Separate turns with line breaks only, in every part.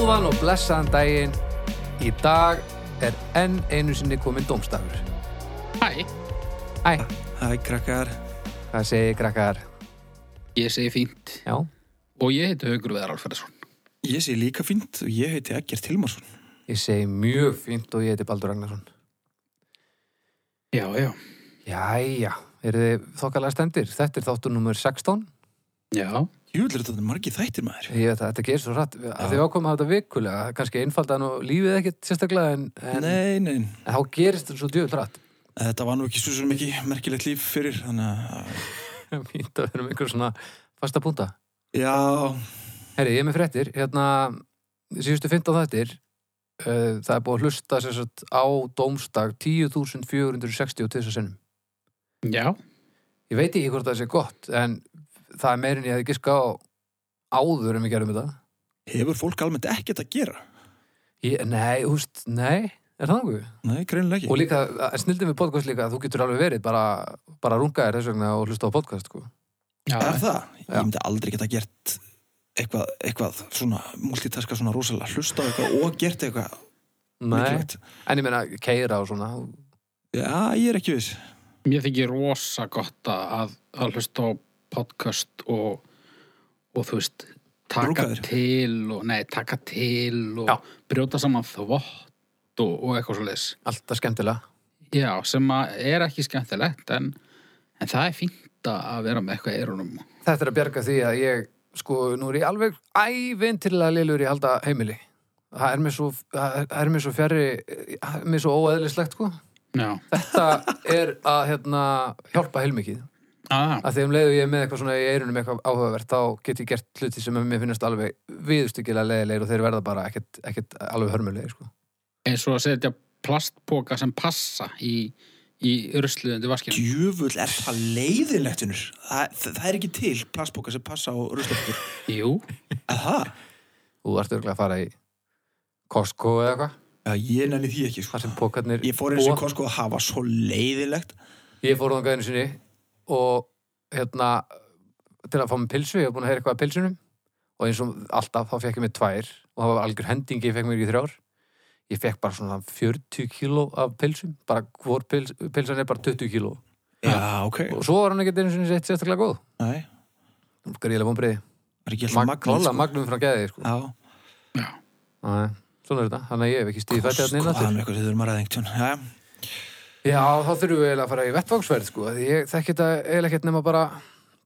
blessaðan daginn. Í dag er enn einu sinni komin dómstafur.
Hæ,
Æ,
Hæ, krakkar.
hvað segir krakkar?
ég segi fínt
Já,
og ég heiti Haugur Veðar Alfredsson.
Ég sé líka fínt og ég heiti Eggert Hilmarsson.
ég segi mjög fínt og ég heiti Baldur Ragnarsson.
Já, já.
Jæja, eru þið þokkalega stendir? Þetta er þáttur nummer 16.
Já,
Júlur, þetta er margir þættir maður.
Ég veit að þetta gerist svo rætt. Að þið ákomið að þetta vikulega, það er kannski einfaldan og lífið ekkert sérstaklega en, en,
Nei, nei,
en þá gerist þetta svo djöfult rætt.
þetta var nú ekki svo sem ekki merkilegt líf fyrir, þannig að,
Fínt að vera með einhver svona fasta púnta.
já,
Herri, ég er með fréttir. Hérna, síðustu 15 þættir, uh, það er búið að hlusta sem sagt, á dómstag 10.460 til þess að sinnum.
já,
Ég veit ekki hvort það sé gott, en það er meirinn ég hefði giska á áður um við gerum þetta.
hefur fólk almennt ekkert að gera?
Ég, nei, húst, nei, er það nokkuð?
Nei, greinilega ekki.
Og líka, snildið við podcast líka, þú getur alveg verið bara, bara runga þér þess vegna og hlusta á podcast, sko.
já,
Er það?
Já.
Ég myndi aldrei geta gert eitthvað, eitthvað svona, multitaska svona rosalega, hlusta á eitthvað og gert eitthvað
Nei,
mikilvægt.
en ég meina, keira og svona,
Já, ég er ekki viss.
mér þykir rosa gott að, að hlusta á podcast og, og þú veist, taka
Brúkaður.
til og, nei, taka til og
Já.
brjóta saman þvott og, og eitthvað svo leis.
alltaf skemmtilega.
Já, sem að er ekki skemmtilegt en, en það er fínt að vera með eitthvað erunum.
Þetta er að bjarga því að ég, sko, nú er ég alveg ævintilega liður í að halda heimili. Það er mér svo, það er- það er mér svo fjarri, það er mér svo óæðlislegt, sko.
Já,
Þetta er að, hérna, hjálpa heilmikið.
að,
Að því um leiðu ég er með eitthvað svona í eirunum eitthvað áhugavert, þá get ég gert hluti sem mér finnast alveg viðustykilega leiðilegir og þeir verða bara ekkert, ekkert alveg hörmulegir, sko.
eins og að setja plastpoka sem passa í, í rusluðundu vaskinu.
Djöfull er það leiðilegt, vinnur. Það, það það er ekki til plastbóka sem passa á ruslaftur.
Jú,
Að það?
Þú ert örgulega að fara í Costco eða eitthvað,
Já, ég nenni því ekki,
þar
sko.
sem pókarnir
Ég fór eins og
búa.
Costco að hafa svo leiðilegt.
Ég fór þangað einu sinni og hérna til að fá mér pilsu, ég var búin að heyra eitthvað að pilsunum og eins og alltaf þá fekk ég mér tvær og það var algjör hendingi, ég fekk mér ekki þrjár ég fekk bara svona 40 kíló af pilsum, bara hvor pils, pilsan er bara 20 kíló
Já, ok.
og svo var hann ekkert einu sinni sett sérstaklega góð
Nei,
gríðilega vonbreiði,
það er ekki alltaf
Mag,
magnað,
klála
sko.
magnum frá geði sko.
Já,
Æ, svona er þetta, þannig að ég hef ekki stíð
hérna
fætti hann inn
Costco, það
aftur
Sko, er nú eitthvað sem við þurfum að ræða einhvern tímann. Já, já.
Já, þá þurfum við eiginlega að fara í vettvangsferð sko. því ég þekki þetta eiginlega ekkert nema bara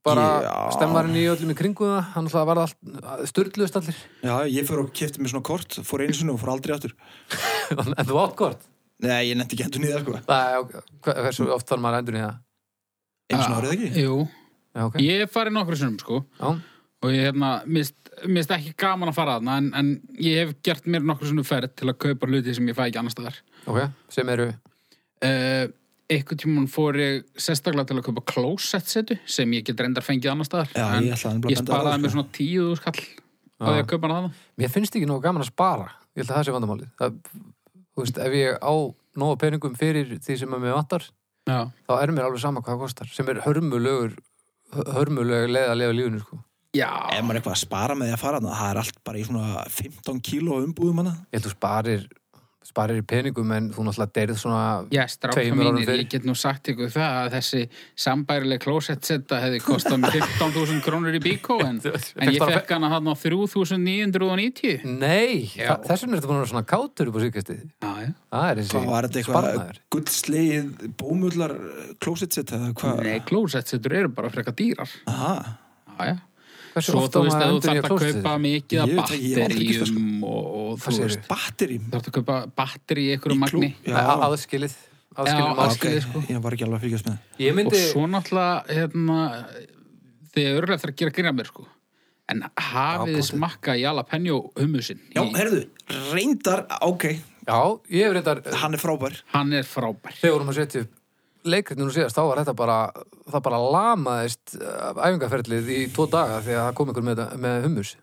bara
Já.
stemmarinn í öllum í kringu það hann alltaf var allt styrlust allir
Já, ég fór og kefti mér svona kort, fór einu sinni og fór aldrei aftur.
en þú átt kort
Nei, ég nefndi ekki endur nýða, sko.
Það er, ok, hver- hversu oft þarf maður endur í það
Einu
Ah.
sinni árið ekki.
Jú,
já, ok
ég hef farið nokkru sinnum sko
já,
og ég hérna, mist, mist ekki gaman að fara þarna en, en ég hef gert mér nokkru sinnum ferð til að kaupa hluti sem ég fæ ekki annar staðar.
ok, sem eru
Uh, einhvern tímann fór ég sérstaklega til að kaupa klósettsetu sem ég get reyndar fengið annar staðar
Já,
en
ég ætlaði
ég
nefnilega að benda á það,
sparaði mér
sko.
svona tíu skall á því að kaupa hana þarna.
mér finnst ekki nógu gaman að spara ég held að það sé vandamálið það, þú veist, ef ég á nógu peningum fyrir því sem að mér vantar
Já,
þá er mér alveg sama hvað það kostar sem er hörmulegur hörmulegur leið að lifa lífinu sko
Ef
já,
maður er eitthvað að spara með því að fara þarna, það er allt bara í svona 15 kíló umbúðum hana.
ég held þú sparir sparir í peningum en þú náttúrulega deyrið svona
já stráka
Tveimur árum
mínir,
fyrir.
ég get nú sagt ykkur það að þessi sambærileg klósettseta hefði kostað mér 15.000 krónur í bíkó en, en ég
bara-
fekk hana hann á 3.990
nei,
Já.
þa- þess vegna ertu búin að vera svona kátur upp á síkastið
Já, já
það er
Hvað var þetta
þessi
eitthvað
sparnaður
guldslegið bómullar klósitsett eða hvað?
Nei, klósettsetur eru bara frekar dýrar.
Aha,
Aja.
hversu
Svo
oft á
þú veist
maður
að þú
endur í
þarf
að
að kaupa mikið af
Ég veit ekki, ég hef aldrei gert það, sko.
batteríum og, og þú
Hvað segirðu?
veist,
batterím.
þarf að kaupa batteri í einhverju
Í klú-
magni.
Já,
Nei, aðskilið,
Já,
aðskilið
Ah,
mál.
aðskilið.
ok,
skilið, sko.
ég var ekki alveg að fylgjast með.
Ég
Og
myndi,
svo náttúrulega, hérna, þið eru örugglega eftir að gera grína mér, sko. En hafið þið
pottet.
smakka í jalapeno humusin.
Já, herðu, reyndar, ok,
já, ég hef reyndar
hann er frábær.
Hann er frábær.
þegar vorum að setja upp leikritinu síðast, þá var þetta bara það bara lamaðist uh, æfingarferlið í tvo daga þegar það kom ykkur með, þetta- með hummus.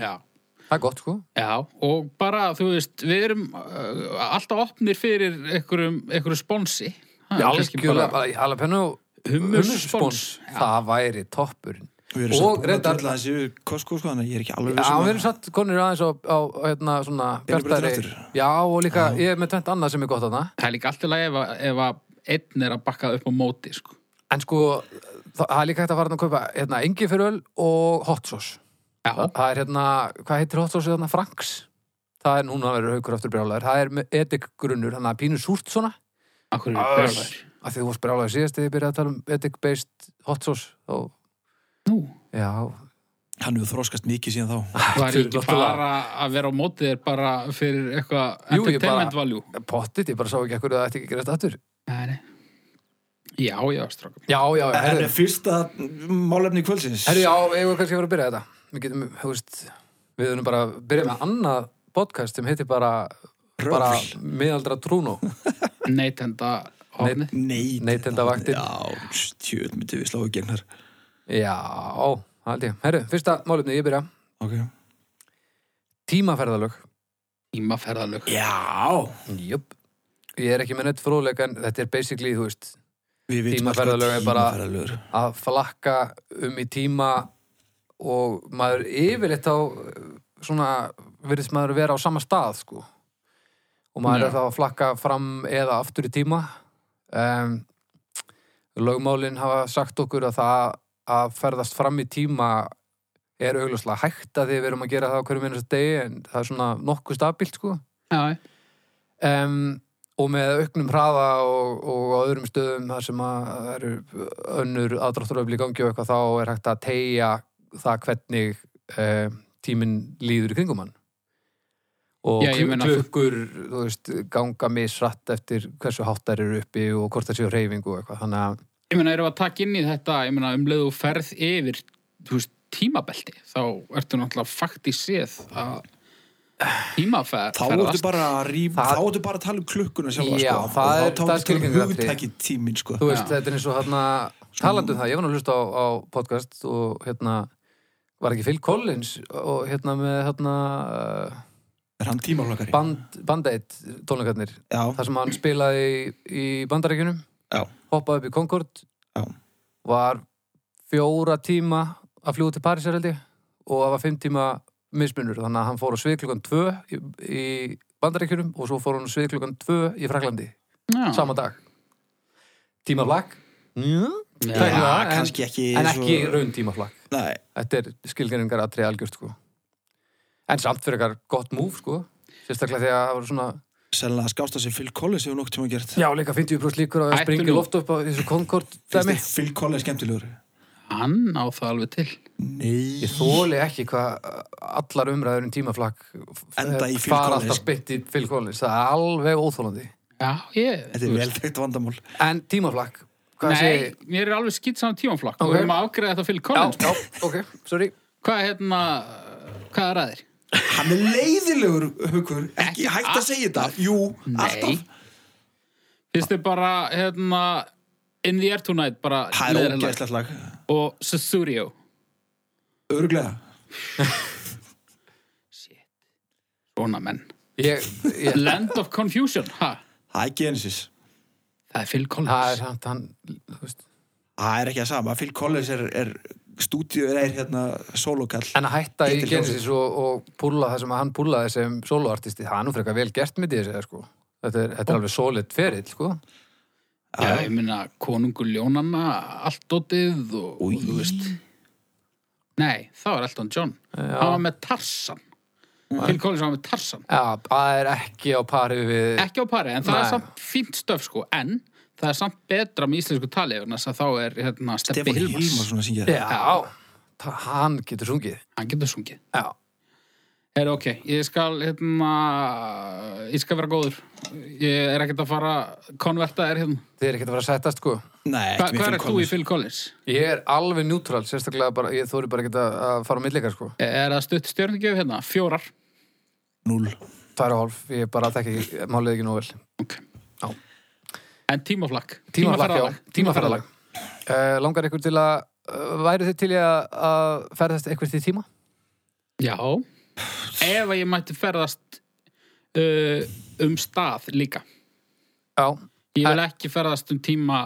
Já.
Það er gott, sko.
Já, og bara, þú veist, við erum uh, alltaf opnir fyrir einhverjum, einhverju sponsi. Það er kannski
Algjörlega, bara jalapeno
Hummus spons. Já.
Það væri toppurinn.
Við
Og
erum samt búin að
reyndar-
drölla þessi Costco sko, þannig að ég er ekki alveg
Já, við erum
viss um að-
satt konur aðeins á, á hérna, svona
Elíbrautir
bjartari-
aftur.
Já, og líka, ég er með tvent annað sem er gott þarna
Það er líka allt í lagi ef, að- ef að einn er að bakka upp á móti, sko.
En sko, það það er líka hægt að fara þarna að kaupa hérna, engifyröl og hot sauce
Já,
Þa- Það er hérna, hvað heitir hot sauce þarna? Franks Það er núna verður haukur aftur brjálæður Það er með etikgrunnur, þannig að pínu súrt svona
akkur er
Öss.
við brjóðar.
af því þú varst brjálæður síðast þegar ég byrjaði að tala um etik-based hot sauce og,
Nú,
Já,
Hann hefur þroskast mikið síðan þá
það er ekki
náttúrulega.
bara að vera á móti þér bara fyrir
Jú,
eitthvað
ég bara-
entertainment value.
pottit, ég bara sá ekki ekkur að það ætti ekki að gerast aftur
Nei, nei. Já, já, strákum.
Já, já, já,
En
herðu
er fyrsta málefni kvöldsins
Herru, já, eigum við kannski að fara að byrja þetta. Við getum, þú veist, við erum bara að byrja með annað podcast sem heitir bara,
Röfl.
bara miðaldra trúnó.
Neytenda hofnið.
Nei,
Neytendavaktin.
Já, stjöld myndi við sláðu gegn þar
Já, það held ég. Herru, fyrsta málefni, ég byrja.
Ok
Tímaferðalög.
Ímaferðalög.
Já
Jöp. Ég er ekki með neitt fróðleika en þetta er basically, þú veist,
Við vitum um alltaf
Tímaferðalög er bara-
tímaferðalögur.
að flakka um í tíma og maður yfirleitt á svona virðist maður vera á sama stað sko og maður
Já.
er þá að flakka fram eða aftur í tíma um, lögmálin hafa sagt okkur að það að ferðast fram í tíma er augljóslega hægt að því við erum að gera það á hverjum einasta degi en það er svona nokkuð stabilt sko
Já, já.
um, og með auknum hraða og, og á öðrum stöðum þar sem að það eru önnur aðdrátturöfli í gangi og eitthvað þá er hægt að tegja það hvernig um, tíminn líður í kringum hann og
Já, ég
klu-
meina-
klukkur þú veist, ganga misratt eftir hversu háttar eru uppi og hvort það séu reyfing og eitthvað þannig að
Ég meina, erum við að taka inn í þetta, ég meina, um leið og ferð yfir, þú veist, tímabelti, þá ertu náttúrulega faktið séð að tímaferð.
Þá ertu bara að rýf
Það-
Þá ertu bara að tala um klukkuna sjálf
Já,
sko.
það er- það er
Og þá tátu til
skilgreint atriði.
hugtækið tíminn sko.
Þú veist,
Já.
þetta er eins og hérna talandi um það, ég var nú að hlusta á, á podcast og hérna var ekki Phil Collins og hérna með hérna uh,
Er hann tímaflakari?
band, bandeitt tónleikarnir
Já,
þar sem hann spilaði í, í bandarækjunum
já,
hoppaði upp í Concord
já
var fjóra tíma að fljúa til Parísar held ég og það var fimm tíma mismunur þannig að hann fór á svið klukkan tvö í, í bandarækjunum og svo fór hann á svið klukkan tvö í Fraklandi,
Já,
sama dag tímaflakk en
Já.
Tæknilega, en-
kannski ekki
ekki raun tímaflakk
Nei,
þetta er skilgjöringar að treyja algjört sko en samt fyrir eitthvað gott múf sko sérstaklega þegar það var svona
sennilega skásta sem Phil Collins hefur nokkuð tíma gert
Já, líka 50% líkur á að
Ættu
springa
nú.
loft upp á þessu Concorde
Finnst
dæmi.
þér Phil Collins skemmtilegur?
hann á það alveg til.
Nei
Ég þóli ekki hvað allar umræður um tímaflakk f-
Enda í Phil
fara
Collins.
alltaf beint í Phil Collins. Það er alveg óþólandi.
Já, ég...
Þetta er vel tækt vandamál
En tímaflakk, hvað
Nei,
segir?
mér er alveg skitt saman tímanflakk
Ok.
og við erum að ágreða þetta fyrir
Já,
Collins.
já, ok, sorry.
Hvað er hérna, hvað er aðeir?
Hann er leiðilegur, hugur Ekki hægt að segja þetta Jú, alltaf
Finnst þið bara, hérna, In the Air Tonight, bara
Það er
leiðinlegt.
ógeðslegt lag
Og Susurio.
Öruglega
Shit. Svona menn.
Ég, ég,
Land of Confusion, ha?
Það er Genesis
Það er Phil Collins.
það er samt hann, þú veist.
Það er ekki að sama Phil Collins er, er stúdíu er hérna sólokall
En að hætta í
Hittir
Genesis og, og púla það sem hann púlaði sem soloartisti, það er nú frekar vel gert með því að segja, sko. Þetta er, þetta er alveg solid ferill, sko.
Já, ég meina konungur ljónanna, allt dótið og, og þú veist. Nei, það var Elton John. Hann var með Tarsan. Phil Collins var með Tarsan.
Já, það er ekki á pari við...
Ekki á pari, en það
Nei.
er samt fínt stöf sko, en það er samt betra með íslensku tali en þess að þá er hérna Steffi
Stefán
Hilmars.
Hilmarsson að syngja
Já, það- hann getur sungið.
Hann getur sungið.
Já.
Er ok, ég skal hérna, ég skal vera góður. Ég er ekkert að fara konverta þér hérna.
Þið er ekkert að fara að sættast sko
Nei,
Hva,
ekki
hvað
með
er þú
Phil
í
Collins
Phil Collins?
Ég er alveg njútrál, sérstaklega bara, ég þóri bara ekki að að fara á millikar sko
Er það stutt stjörningjöf hérna? Fjórar.
Núl
Tvær og hálf, ég bara þekki ekki, málið ekki nú vel
Ok.
Já.
En tímaflakk.
Tímaferðalag, já, tímaferðalag uh, Langar ykkur til að, uh, væri þið til í að, að ferðast eitthvað til tíma?
Já. Ef að ég mætti ferðast uh, um stað líka.
Já,
Ég vil ekki ferðast um tíma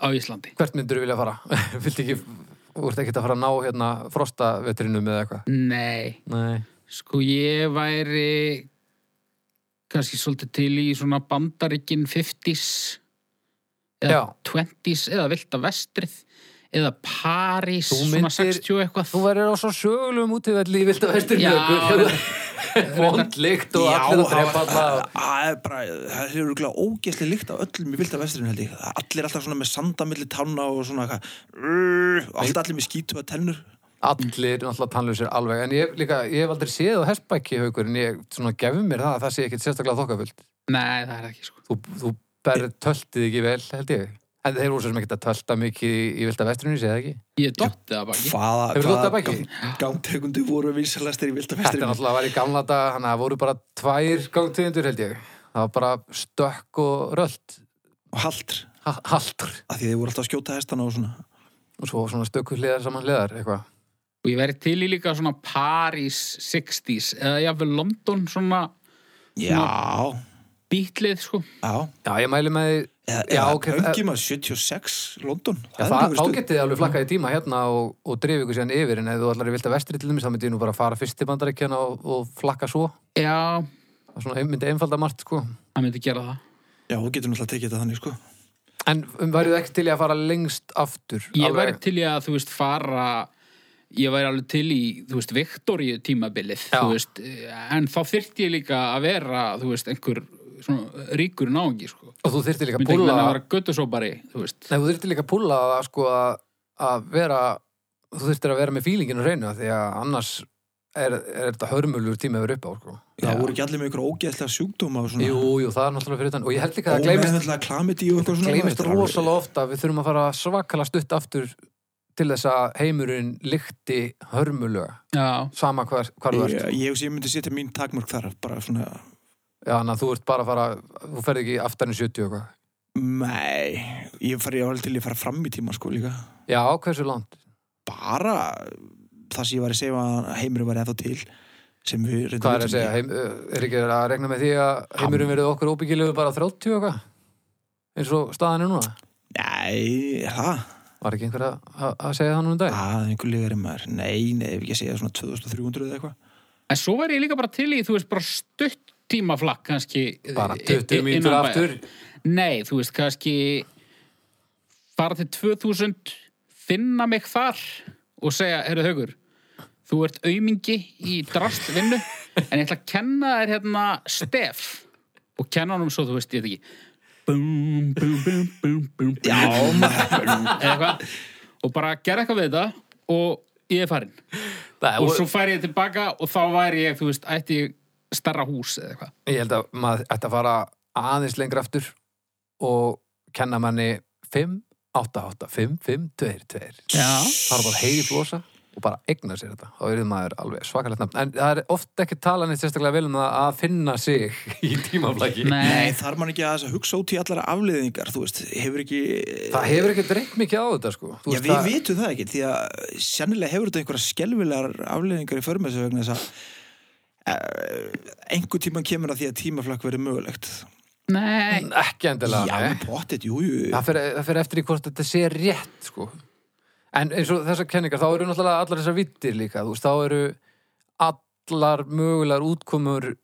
á Íslandi.
hvert myndur þú vilja fara? Viltu ekki Þú ert ekkert að fara að ná hérna frostavetrinum eða eitthvað.
Nei,
Nei.
sko ég væri kannski svolítið til í svona bandaríkin 50s eða
Já.
20s eða vilda vestrið eða París
Þú
svona
myndir-
60 eitthvað
Þú verður á svo sögulegum útivelli í vilt að vestur
Já.
Vondlikt og
Já,
allir að drepa
það-
alla. og-
Það er bara, það er örgulega ógeðsli líkt af öllum í vilda vestrinu held ég. Það er Allir alltaf svona með sandamilli tanna og svona eitthvað. Urr, Alltaf allir með skítu að tennur.
Allir náttúrulega tannlausir alveg. En ég, hef líka, ég hef aldrei séð á hestbæki haukur en ég svona gefur mér það að það sé ekkit sérstaklega þokkafullt.
Nei, það er ekki sko
Þú, þú berð töltið ekki vel, held ég. En þeir eru svo sem ekkert að tölta mikið í, í vilt að vesturinu, ég sé það ekki.
Ég dottið að baki
Hvaða,
Hefur þú þetta baki?
gang- gangtegundu voru vinsalastir í vilda
Þetta er
vestrinu?
náttúrulega var í gamla dag, þannig að það voru bara tvær gangtegundur held ég. Það var bara stökk og rölt,
Og haldr,
ha haldur
af því þið voru alltaf að skjóta hestana og svona.
og svo svona stökku hliðar saman hliðar, eitthvað.
Og ég væri til í líka svona París 60s eða jáfnvel London svona
Já,
bítlið sko
já.
Já, ég mæli með því,
Eða,
Já,
eða
ok,
Öngima 76, London.
já, það,
nú
þá
stuð.
getið þið alveg flakkað í tíma hérna og, og drifið ykkur síðan yfir, en ef þú allar er vilt að vestri til þeim, þá myndið nú bara að fara fyrst til bandarækjana og, og flakka svo.
Já,
Það er svona ein- myndi einfalda margt, sko.
það myndi gera það
Já, þú getur náttúrulega tekið þetta þannig, sko.
En værið ekki til í að fara lengst aftur?
Ég
Alveg-
væri til í að, þú veist, fara ég væri alveg til í, þú veist, Viktoríu tímabilið,
Já.
þú veist eh, en þá þyrfti ég líka að vera, þú veist, einhver svona ríkur náungi, sko.
Og þú þyrfti líka að
Myndi ekki
púlla...
menna að vera göttusópari, þú veist.
Nei, þú þurftir líka að púlla það sko að- að vera þú þurftir að vera með fílingin að reyna því að annars er, er þetta hörmulur tími að vera upp á sko.
Það voru ekki allir með ykkur ógeðslega sjúkdóma og svona.
Jú, jú, það er náttúrulega fyrir utan og ég held líka að það gleymist,
Ómeðvöldlega klamiti og eitthvað svona.
gleymist
Þetta er alveg-
rosalega ofta að við þurfum að fara svakalega stutt aftur til þess að heimurinn lykti hörmulega
Já,
sama hvar, hvar þú ert
Ég, ég, ég myndi setja mín takmörk þar bara svona,
Já, þannig að þú ert bara að fara þú ferð ekki aftar en 70 og eitthvað
nei ég fari alveg til að fara fram í tíma sko líka
Já, hversu langt?
bara það sem ég var að segja að heimurinn var eða til sem við reyndum
Hvað er
vitum
að segja?
ekki.
Heim, er ekki að regna með því að heimurinn verið okkur óbyggilegu bara 30 og eitthvað? Eins og staðan er núna?
Nei, það,
Var ekki einhver að, að- að segja það nú um dag?
það er einhver líka maður Nei, nei, ef ekki að segja svona 2300 eða eitthvað
en svo væri ég líka bara til í, þú veist, bara stutt tímaflakk, kannski.
Bara
i- i-
20
innan
mínútur
bæjar.
aftur?
Nei, þú veist, kannski fara til 2000, finna mig þar og segja, herru haugur, þú ert aumingi í drastvinnu, en ég ætla að kenna þér hérna stef og kenna honum svo, þú veist, ég veit ekki, bum, bum, bum, bum, bum, bum,
Já,
eða
maður
eitthvað, og bara gera eitthvað við þetta og ég er farin.
Nei,
Og
og-
svo færi ég tilbaka og þá væri ég, þú veist, ætti ég starra hús eða eitthvað.
Ég held að maður ætti að fara aðeins lengra aftur og kenna manni 5, 8, 8, 5, 5, 2, 2
Já.
Það er bara að heyri flosa og bara eigna sér þetta þá eruð maður alveg svakalegt nafn en það er oft ekki talan eitt sérstaklega vel um það að finna sig í tímaflaki
Nei, þarf mann ekki að þess að hugsa út í allara afleðingar þú veist, hefur ekki
það hefur ekki dreikt mikið á þetta sko Þú
Já,
veist,
við
það-
vitum það ekki, því að sennilega hefur þetta einhverja skelvilegar afleðingar í förmessu vegna þess að uh, einhver tíman kemur að því að tímaflakk verið mögulegt.
Nei.
ekki endilega
Já,
nei.
pottit, jú, jú.
það fer, það fer eftir í hvort þetta sé rétt sko. en eins og þessar kenningar þá eru náttúrulega allar þessar vittir líka þú veist, þá eru allar mögulegar útkomur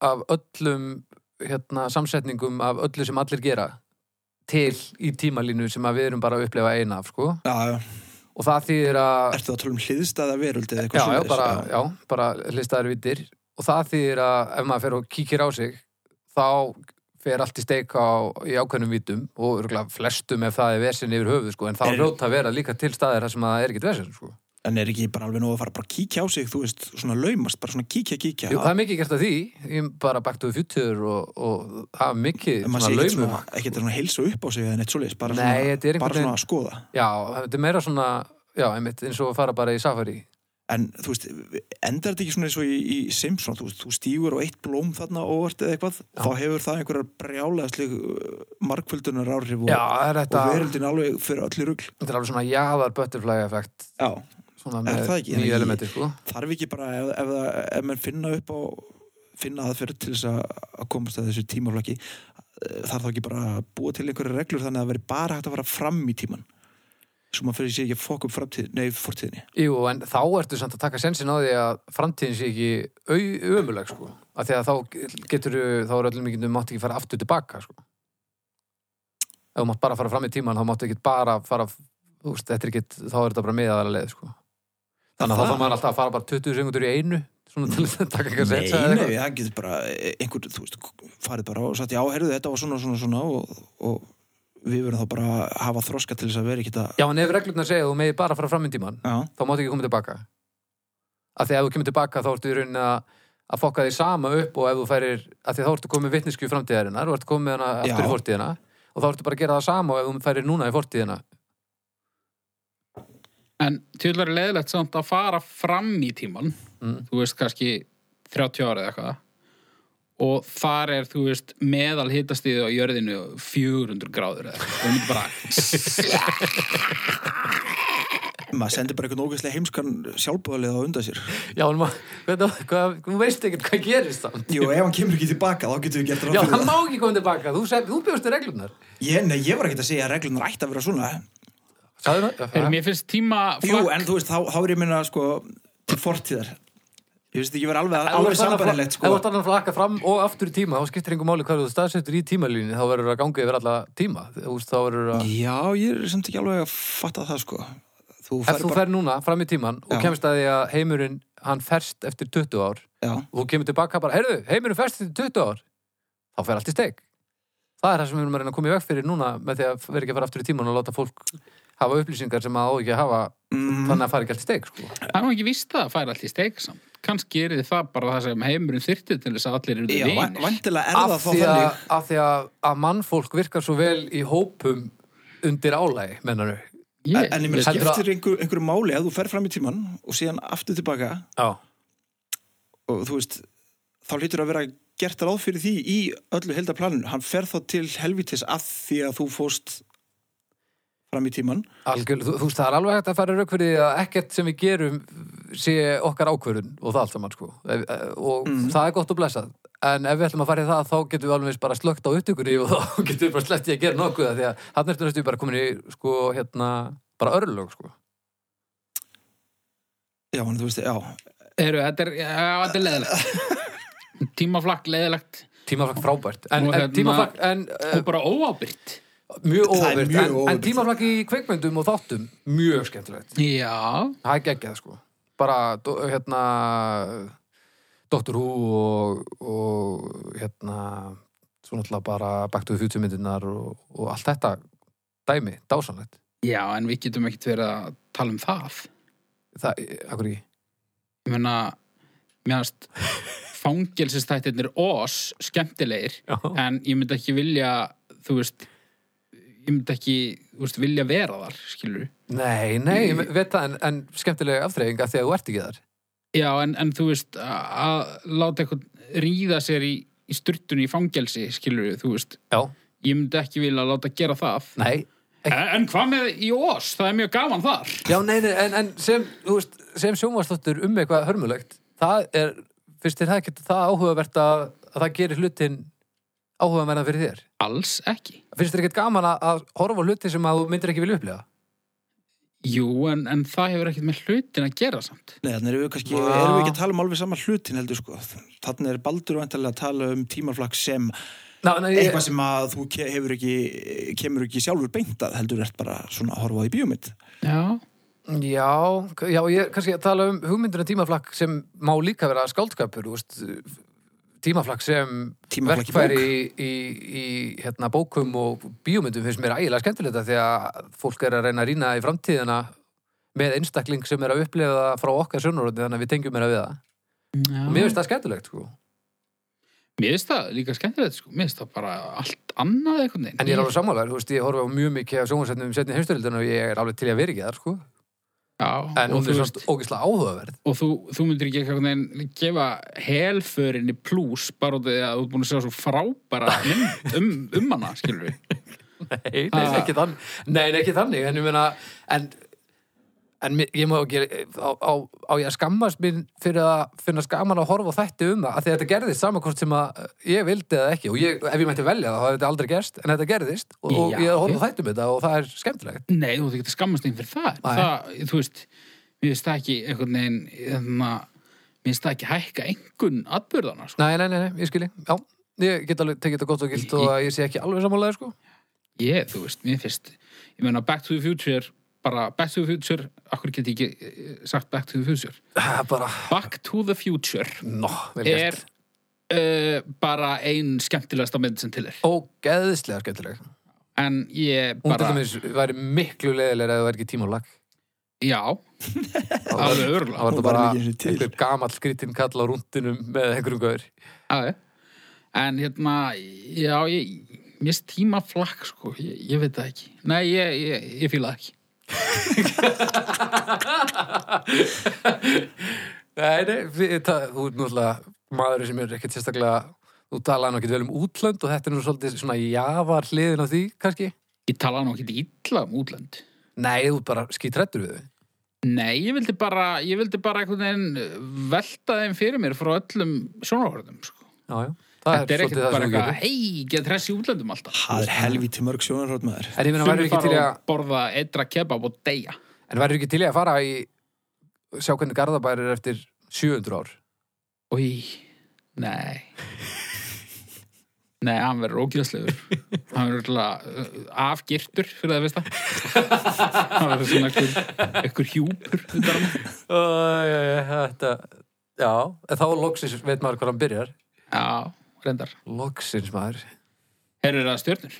af öllum hérna, samsetningum af öllu sem allir gera til í tímalínu sem að við erum bara að upplefa eina af sko.
Já, já.
og það þýðir að
Ertu að tala um hliðstæða veröld eða
já,
eitthvað
já,
svoleiðis?
bara, já, bara listaður vittir og það þýðir að ef maður fer og kíkir á sig þá fer allt í steik á, í ákveðnum vítum og örgulega flestum ef það er vesin yfir höfuð sko, en þá
Er-
hljóta að vera líka til staðir þar sem það er ekkit vesin sko.
En er ekki bara alveg nóg að fara bara að kíkja á sig, þú veist, svona laumast, bara svona kíkja, kíkja.
Jú, það er mikið gert að því, ég bara baktuðu fjútur og, og það er mikið
En maður sé
svona
ekkert
laumum
svona, ekkert svona heilsa upp á sig eða neitt svoleiðis, bara,
Nei, þetta er einhvern
svona, bara svona
veginn-
að skoða.
Já, þetta er meira svona, já, einmitt, eins og að fara bara í safari
En þú veist, endar þetta ekki svona eins og í, í Simpson, þú veist, þú stígur á eitt blóm þarna óvart eða eitthvað, þá hefur það einhverjar brjálæðsleg markföldunar áhrif og,
Já, það er
og
þetta,
veröldin alveg fyrir öllu rugl.
þetta er alveg svona jaðar butterfly effekt
Já,
svona
Er
með
það ekki?
nýju
Ég-
elementi sko.
þarf ekki bara ef, ef, það- ef menn finna upp á finna aðferð til þess að, að komast að þessu eh, tímaflaki, þarf þá ekki bara að búa til einhverju reglur þannig að það veri bara hægt að fara fram í tíman svo maður fyrir sér ekki að fokk upp framtíð, nei, fortíðinni
Jú, en þá ertu samt að taka sensin á því að framtíðin sé ekki au- ömuleg, sko. Af því að þá getur, þá er öllum mikið, þú mátt ekki fara aftur tilbaka, sko. Ef þú mátt bara fara fram í tíman, þá máttu ekki bara fara, þú veist, þetta er ekki, þá er þetta bara miðaðalega leið, sko. Þannig að þá
Það-
þarf maður alltaf að fara bara 20 sekundur í einu, svona til þess að taka eitthvað
Nei,
sensa.
nei, það getur bara einhvern, þú veist, farið bara og sagt já, herðu þetta var svona, svona, svona og, og við verðum þá bara að hafa þroska til þess að vera ekki þetta
Já, en ef reglurnar segja að þú meði bara fara fram í tíman,
Já,
þá máttu ekki koma tilbaka af því að ef þú kemur tilbaka þá ertu í rauninni að, að fokka því sama upp og ef þú færir, af því að þá ertu komið vittneskju framtíðarinnar og ertu komið hana aftur
Já.
í fortíðina og þá ertu bara að gera það sama og ef þú færir núna í fortíðina
En tjóðlega er leiðilegt samt að fara fram í tíman,
Mm.
þú veist kannski 30 ára eða eitthvað og þar er, þú veist, meðal hitastíði á jörðinu 400 gráður eða eitthvað, þú myndir bara
maður sendir bara einhvern ógeðslega heimskan sjálfbúðalið á undan sér
Já, en maður, veit það, hvað, þú veist ekkert hvað gerist þá
Jú, ef hann kemur ekki tilbaka, þá getur við gert
Já, það má ekki koma tilbaka, þú, seg- þú bjóstu reglurnar
Ég, nei, ég var ekki að segja að reglunar ætti að vera svona
Sæður það?
Heyrðu, mér finnst tíma
Jú,
flakk,
en þú veist, þá, þá er ég minna sko til fortíðar Ég veist ekki vera alveg,
Ef þú
alveg
ert annað fla-
sambarnilegt
ef þú
sko
ert annað flakka fram og aftur í tíma þá skiptir einhver máli hvað þú staðsettur í tímalínu þá verður að ganga yfir alla tíma Þú veist, þá verður að
Já, ég er samt ekki alveg að fatta það sko Þú
Ef
fær
þú
bara
fer núna fram í tíman og
Já.
kemst að því að heimurinn hann ferst eftir 20 ár
Já,
og þú kemur tilbaka bara, heyrðu, heimurinn ferst eftir 20 ár þá fer allt í steik það er það sem við erum að reyna að koma í veg fyrir núna með því að vera ekki að fara aftur í tíman og láta fólk hafa upplýsingar sem það á ekki að hafa
mm,
þannig að fara ekki allt í steik sko.
það er nú ekki víst það að færa allt í steik samt. Kannski er það bara það sem heimurinn þyrti til þess að allir eru
já væ-
vinir.
væntanlega er það
af
þá
því að,
þannig
af því að, að mannfólk virkar svo vel í hópum undir álæg, mennar þau
Ég-
En ég meina,
Heldur að-
skiptir einhver, einhverju máli að þú fer fram í tíman og síðan aftur tilbaka
Já,
og þú veist, þá hlýtur að vera gert ráð fyrir því í öllu heldaplaninu hann fer þá til helvitis að því að þú fórst fram í tíman
algjörlega, þú, þú veist, það er alveg hægt að fara rauk fyrir því að ekkert sem við gerum sé okkar ákvörðun og það allt saman sko Ef- eh, og
Mhm.
það er gott og blessað en ef við ætlum að fara í það þá getum við alveg eins bara slögt á upptökunni og þá getum við bara slett í að gera nokkuð af því að hann er næstu bara komin í sko hérna, bara örlög sko
Já, en þú veist, já,
Eru, þetta er, já, þetta er leðilegt Tímaflakk leðilegt
tímaflakk frábært en,
Og
en
hérna-
tímaflakk, en
og
uh,
bara óábyrgt
mjög
Það er
óverð
mjög
en,
óábyrgt.
en tímaflakk í kveikmyndum og þáttum mjög skemmtilegt,
Já,
það er geggjað sko bara, do- hérna Doctor Who og, og hérna svo náttúrulega bara Back to the Future myndirnar og, og allt þetta dæmi, dásanlegt
já, en við getum ekkert verið að tala um það
það, akkur ekki
Ég meina, mjögast fangelsistættirnir os skemmtilegir,
Já.
en ég myndi ekki vilja, þú veist ég myndi ekki, þú veist, vilja vera þar skilur
Nei, nei, ég veit það en, en skemmtilega aftreying af því að þú ert ekki þar
Já, en, en þú veist, að að láta eitthvað ríða sér í, í sturtunni í fangelsi, skilur þú veist
Já,
ég myndi ekki vilja láta gera það
nei
en, en hvað með í os, það er mjög gaman þar
Já, nei, nei, en, en sem, þú veist, sem sjónvarsdóttur um eitthvað hörmulegt það er, finnst þér það ekki það áhugavert að, að það gerir hlutin áhugaverðan fyrir þér
Alls ekki
Finnst þér ekkert gaman að, að horfa á hluti sem að þú myndir ekki vilja upplega?
Jú, en, en það hefur ekkert með hlutin að gera samt.
nei, þannig erum við kannski
Já.
erum við ekki að tala um alveg saman hlutin heldur sko þannig er Baldur vantarlega að tala um tímaflakk sem
Ná, nei, ég-
eitthvað sem að þú ke- hefur ekki kemur ekki sjálfur beintað heldur ert bara svona að horfa á í bíómynd
Já.
Já, k- já, ég er kannski að tala um hugmyndina tímaflakk sem má líka vera skáldskapur, þú veist, tímaflakk sem
Tímaflakk í
verkfæri í, í, í hérna, bókum og bíómyndum finnst mér ægilega skemmtilegt af því að fólk er að reyna að rýna í framtíðina með einstakling sem er að upplega frá okkar sjónurotni þannig að við tengjum meira við það.
Já.
Og mér finnst það skemmtilegt, sko.
Mér finnst það líka skemmtilegt, sko. Mér finnst það bara allt annað einhvern veginn.
En ég er alveg sammálar, þú veist, ég horfa á mjög mikið af sjónvarsætnum um setni heimstöldinu og ég er alveg til í að vera ekki þar, sko.
Já,
En
og,
hún
þú,
er
veist,
svona ógislega áhugaverð.
og þú, þú myndir ekki einhvern veginn gefa helförinni plús bara út af því að þú er búin að segja svo frábæra mynd um, um hana, skilur við.
Nei, nei,
Ah.
ekki þannig Nei, nei, ekki þannig En ég meina En, en mér- ég má ekki á, á, á ég að skammast mín fyrir að finna skaman að horfa á þætti um það af því að þetta gerðist samankort sem að eh, ég vildi eða ekki og ég, ef ég mætti velja það þá hefði þetta aldrei gerst en þetta gerðist og, og
Já.
ég horfa á þætti um þetta og það er skemmtilegt
Nei, þú getur skammast einn fyrir það.
Nei.
það þú veist, mér finnst það ekki einhvern veginn, þannig að mér finnst það ekki hækka einhvern atbyrðana, sko.
nei, nei, nei, nei, ég skilji, já ég get alveg tekið þetta gott og gilt og að ég sé ekki alveg sammálaði sko
Ég, þú veist, mér finnst, ég meina Back to the Future, bara Back to the Future, akkur get ég ekki eh, sagt Back to the Future.
Það er bara,
Back to the Future
nó, vel
er
gert
uh, bara ein skemmtilegasta mynd sem til er.
ógeðislega skemmtileg hún
En ég
til
bara,
dæmis væri miklu leðilega ef það væri ekki tímálag
já, alveg
þá var
örgulega.
Hún
þetta
var
bara
ekki einu sinni til.
einhver gamall skrítinn kall á rúndinum með einhverjum gaur
Já, já. En hérna, já, ég, mér finnst tíma flakk, sko, ég, ég veit það ekki. Nei, ég, ég, ég fíla það ekki.
Nei, nei, við, það, þú er náttúrulega maður sem er ekkert sérstaklega þú talaði nú ekkert vel um útlönd og þetta er nú svolítið svona jafar hliðin á því, kannski
Ég talaði nú ekki illa um útlönd.
Nei, þú ert bara skítrættur við þau
Nei, ég vildi bara, ég vildi bara einhvern veginn eh, velta þeim fyrir mér frá öllum sjónarhörðum, sko.
Já, já, það
Þetta er
svolítið
ekkert
það
bara
sem þú
eitthvað,
gerir
hei, get þess í útlöndum alltaf.
Það er helviti mörg sjónarhótt maður
En ég meina,
Sumir
verður ekki til í
fara
að
og borða eitra kebab og deyja.
en verður ekki til í að fara í sjá hvernig Garðabær er eftir 700 ár
Új, nei. Nei, hann verður ógjörðslegur. Hann verður alltaf afgirtur fyrir það, veist það. Hann verður svona einhver, einhver hjúpur. utan um hann.
Æ, já, já, þetta Já, en þá loksins veit maður hvað hann byrjar
Já, reyndar.
Loksins maður
Herður það stjörnur?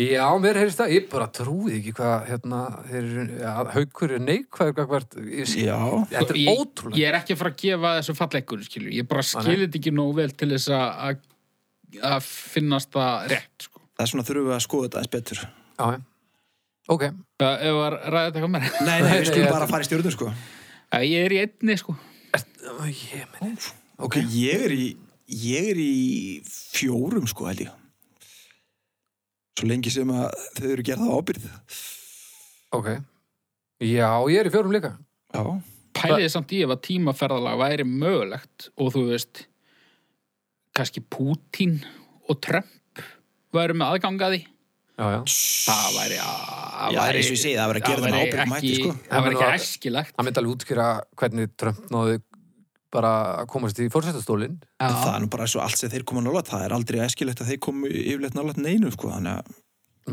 Já, mér heyrist það, ég bara trúið ekki hvað hérna, þeir eru, já, haukur er neikvæður gagvart, ég skil,
Já.
þetta er
Sko, Ég-
ótrúlega
Ég er ekki að fara að gefa þessu falleikunni, skilur. Ég bara skilir þetta ekki nógu vel til þess að- að að finnast það rétt, sko.
Það er svona þurfum við að skoða þetta eins betur
Já, já. ok,
Það- Ef að ræða þetta eitthvað meira.
Nei, nei,
nei,
við skulum
ég-
bara fara í stjórnum sko
Já, Ég er í einni, sko.
Ó, ég meni
Ok, ég er í, ég er í fjórum sko held ég Svo lengi sem að þau eru gerða ábyrð
Ok, já, ég er í fjórum líka
Já,
pæliði samt í ef að tímaferðalag væri mögulegt og þú veist kannski Putin og Trump væri með aðgangaði
Já, já,
það væri að
Já, það er eins og ég segi, það væri að gera það með ábyrgum
ekki,
hætti, sko.
það væri
Það
ekki
væri-
æskilegt
það myndi alveg útskýra hvernig Trump náði bara að komast í fórsættastólin
En það
Já,
er nú bara svo allt sem þeir koma nálat það er aldrei æskilegt að þeir komu yfirleitt nálat neinu sko, þannig að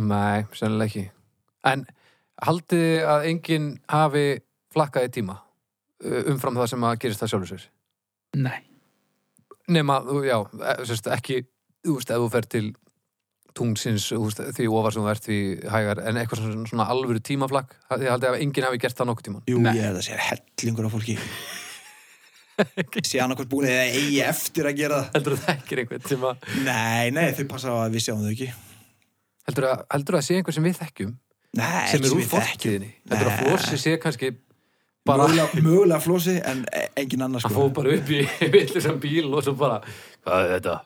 Nei, sennilega ekki En haldið þið að enginn hafi flakkað í tíma uh, umfram það sem að gerist það sjálfur sér
nei,
nema, þú- já, e- sérst, ekki þú veist, ef þú fer til tungsins þú veist, því ofar sem þú ert því hægar en eitthvað svona, svona alvöru tímaflakk því haldið að enginn hafi gert það nokkuð tíman
jú,
Nei.
ég held að sé hellingur á fólki sé annarkvæmt búin eða eigi eftir að gera það
heldur það ekki einhvern sem að
Nei, nei, þau passa á að við sjáum þau ekki
heldur að, heldur að sé einhver sem við þekkjum
Nei,
sem
ekki
er úr
við þekkjum.
fortíðinni heldur að
Nei.
flósi sé kannski bara
Mögulega, mögulega flósi, en e- engin annars
að
sko.
fó bara upp í villisam bíl og svo bara, hvað er þetta?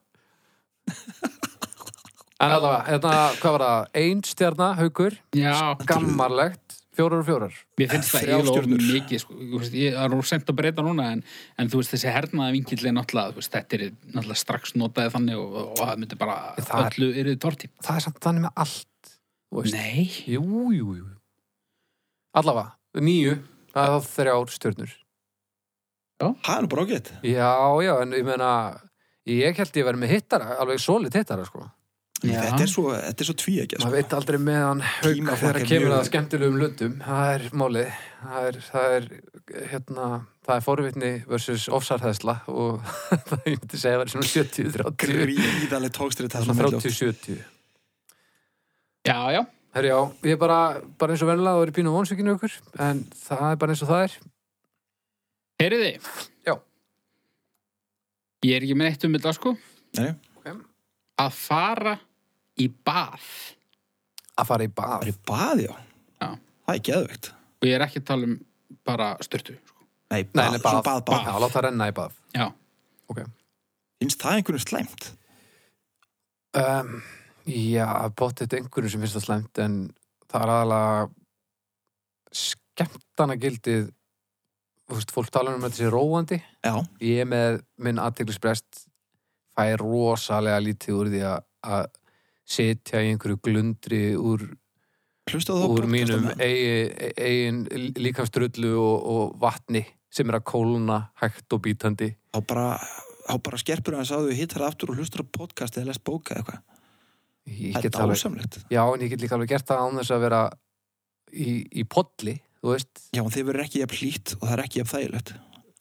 en allavega, hérna, hvað var það? Ein stjarna, haukur,
já
gammarlegt fjórar og fjórar
mér finnst það
Þrjár
eiginlega orðið
stjörnur.
mikið sko. Þú veist, ég það er nú sent að breyta núna en, en þú veist þessi hernaða vingill er náttúrulega þú veist, þetta er náttúrulega strax notaði þannig og, og, og það myndi bara
Það er-
öllu er þið torti
það er samt þannig með allt þú veist.
Nei,
Jú, jú, jú Allavega, nýju Það er þá þrjár stjörnur
Það er nú bara ágætt
Já, já, en ég meina Ég held ég verið með hittara, alveg solid hittara sko.
Já.
Þetta er svo, þetta er svo tví ekki
Maður
sko.
veit aldrei meðan haug
Tímaflakk
þegar
er
kemur
mjög-
að skemmtilegum löndum Það er málið Það er, það er, hérna, það er forvitni versus ofsarhæðsla og það ég myndi segja að verið svona 70-30
Gríðaleg tókstrið það
Svona
sem
30-70
já, já
Herri, já, ég er bara, bara eins og venlega og er í pínu vonsvikinu ykkur en það er bara eins og það er
Heyriði?
Já.
Ég er ekki með eitt um þetta sko.
Nei.
Ok.
Að fara í bað.
að fara í bar
Það er í baði, já.
Já.
Það er geðvögt
Og ég er ekki að tala um bara styrtu. Sko.
Nei,
Nei, nei, bað,
bað, svo bað,
Já,
bað.
láta renna í bað
Já.
okay.
Finnst það einhvern slæmt?
um, Já, bóttið einhverjum sem finnst það slæmt en það er aðalega skemmtana gildið veist, fólk talar um að þetta sé róandi
já,
ég með minn aðteglisbrest fæ rosalega lítið úr því að- að sitja í einhverju glundri úr,
hlustaðu á
úr
podcastana.
mínum e- eigin, eigin líkamstrullu og, og vatni sem er að kóluna hægt og bítandi
þá bara, þá bara skerpur hans að þú hittar aftur og hlustar á podcast eða lest bóka eða eitthvað
Ég get
þetta er
alveg-
ásamlegt
Já, en ég get líka alveg gert það án þess að vera í, í podli, þú veist
já, en þið verður ekki jafn hlýtt og það er ekki jafn þægilegt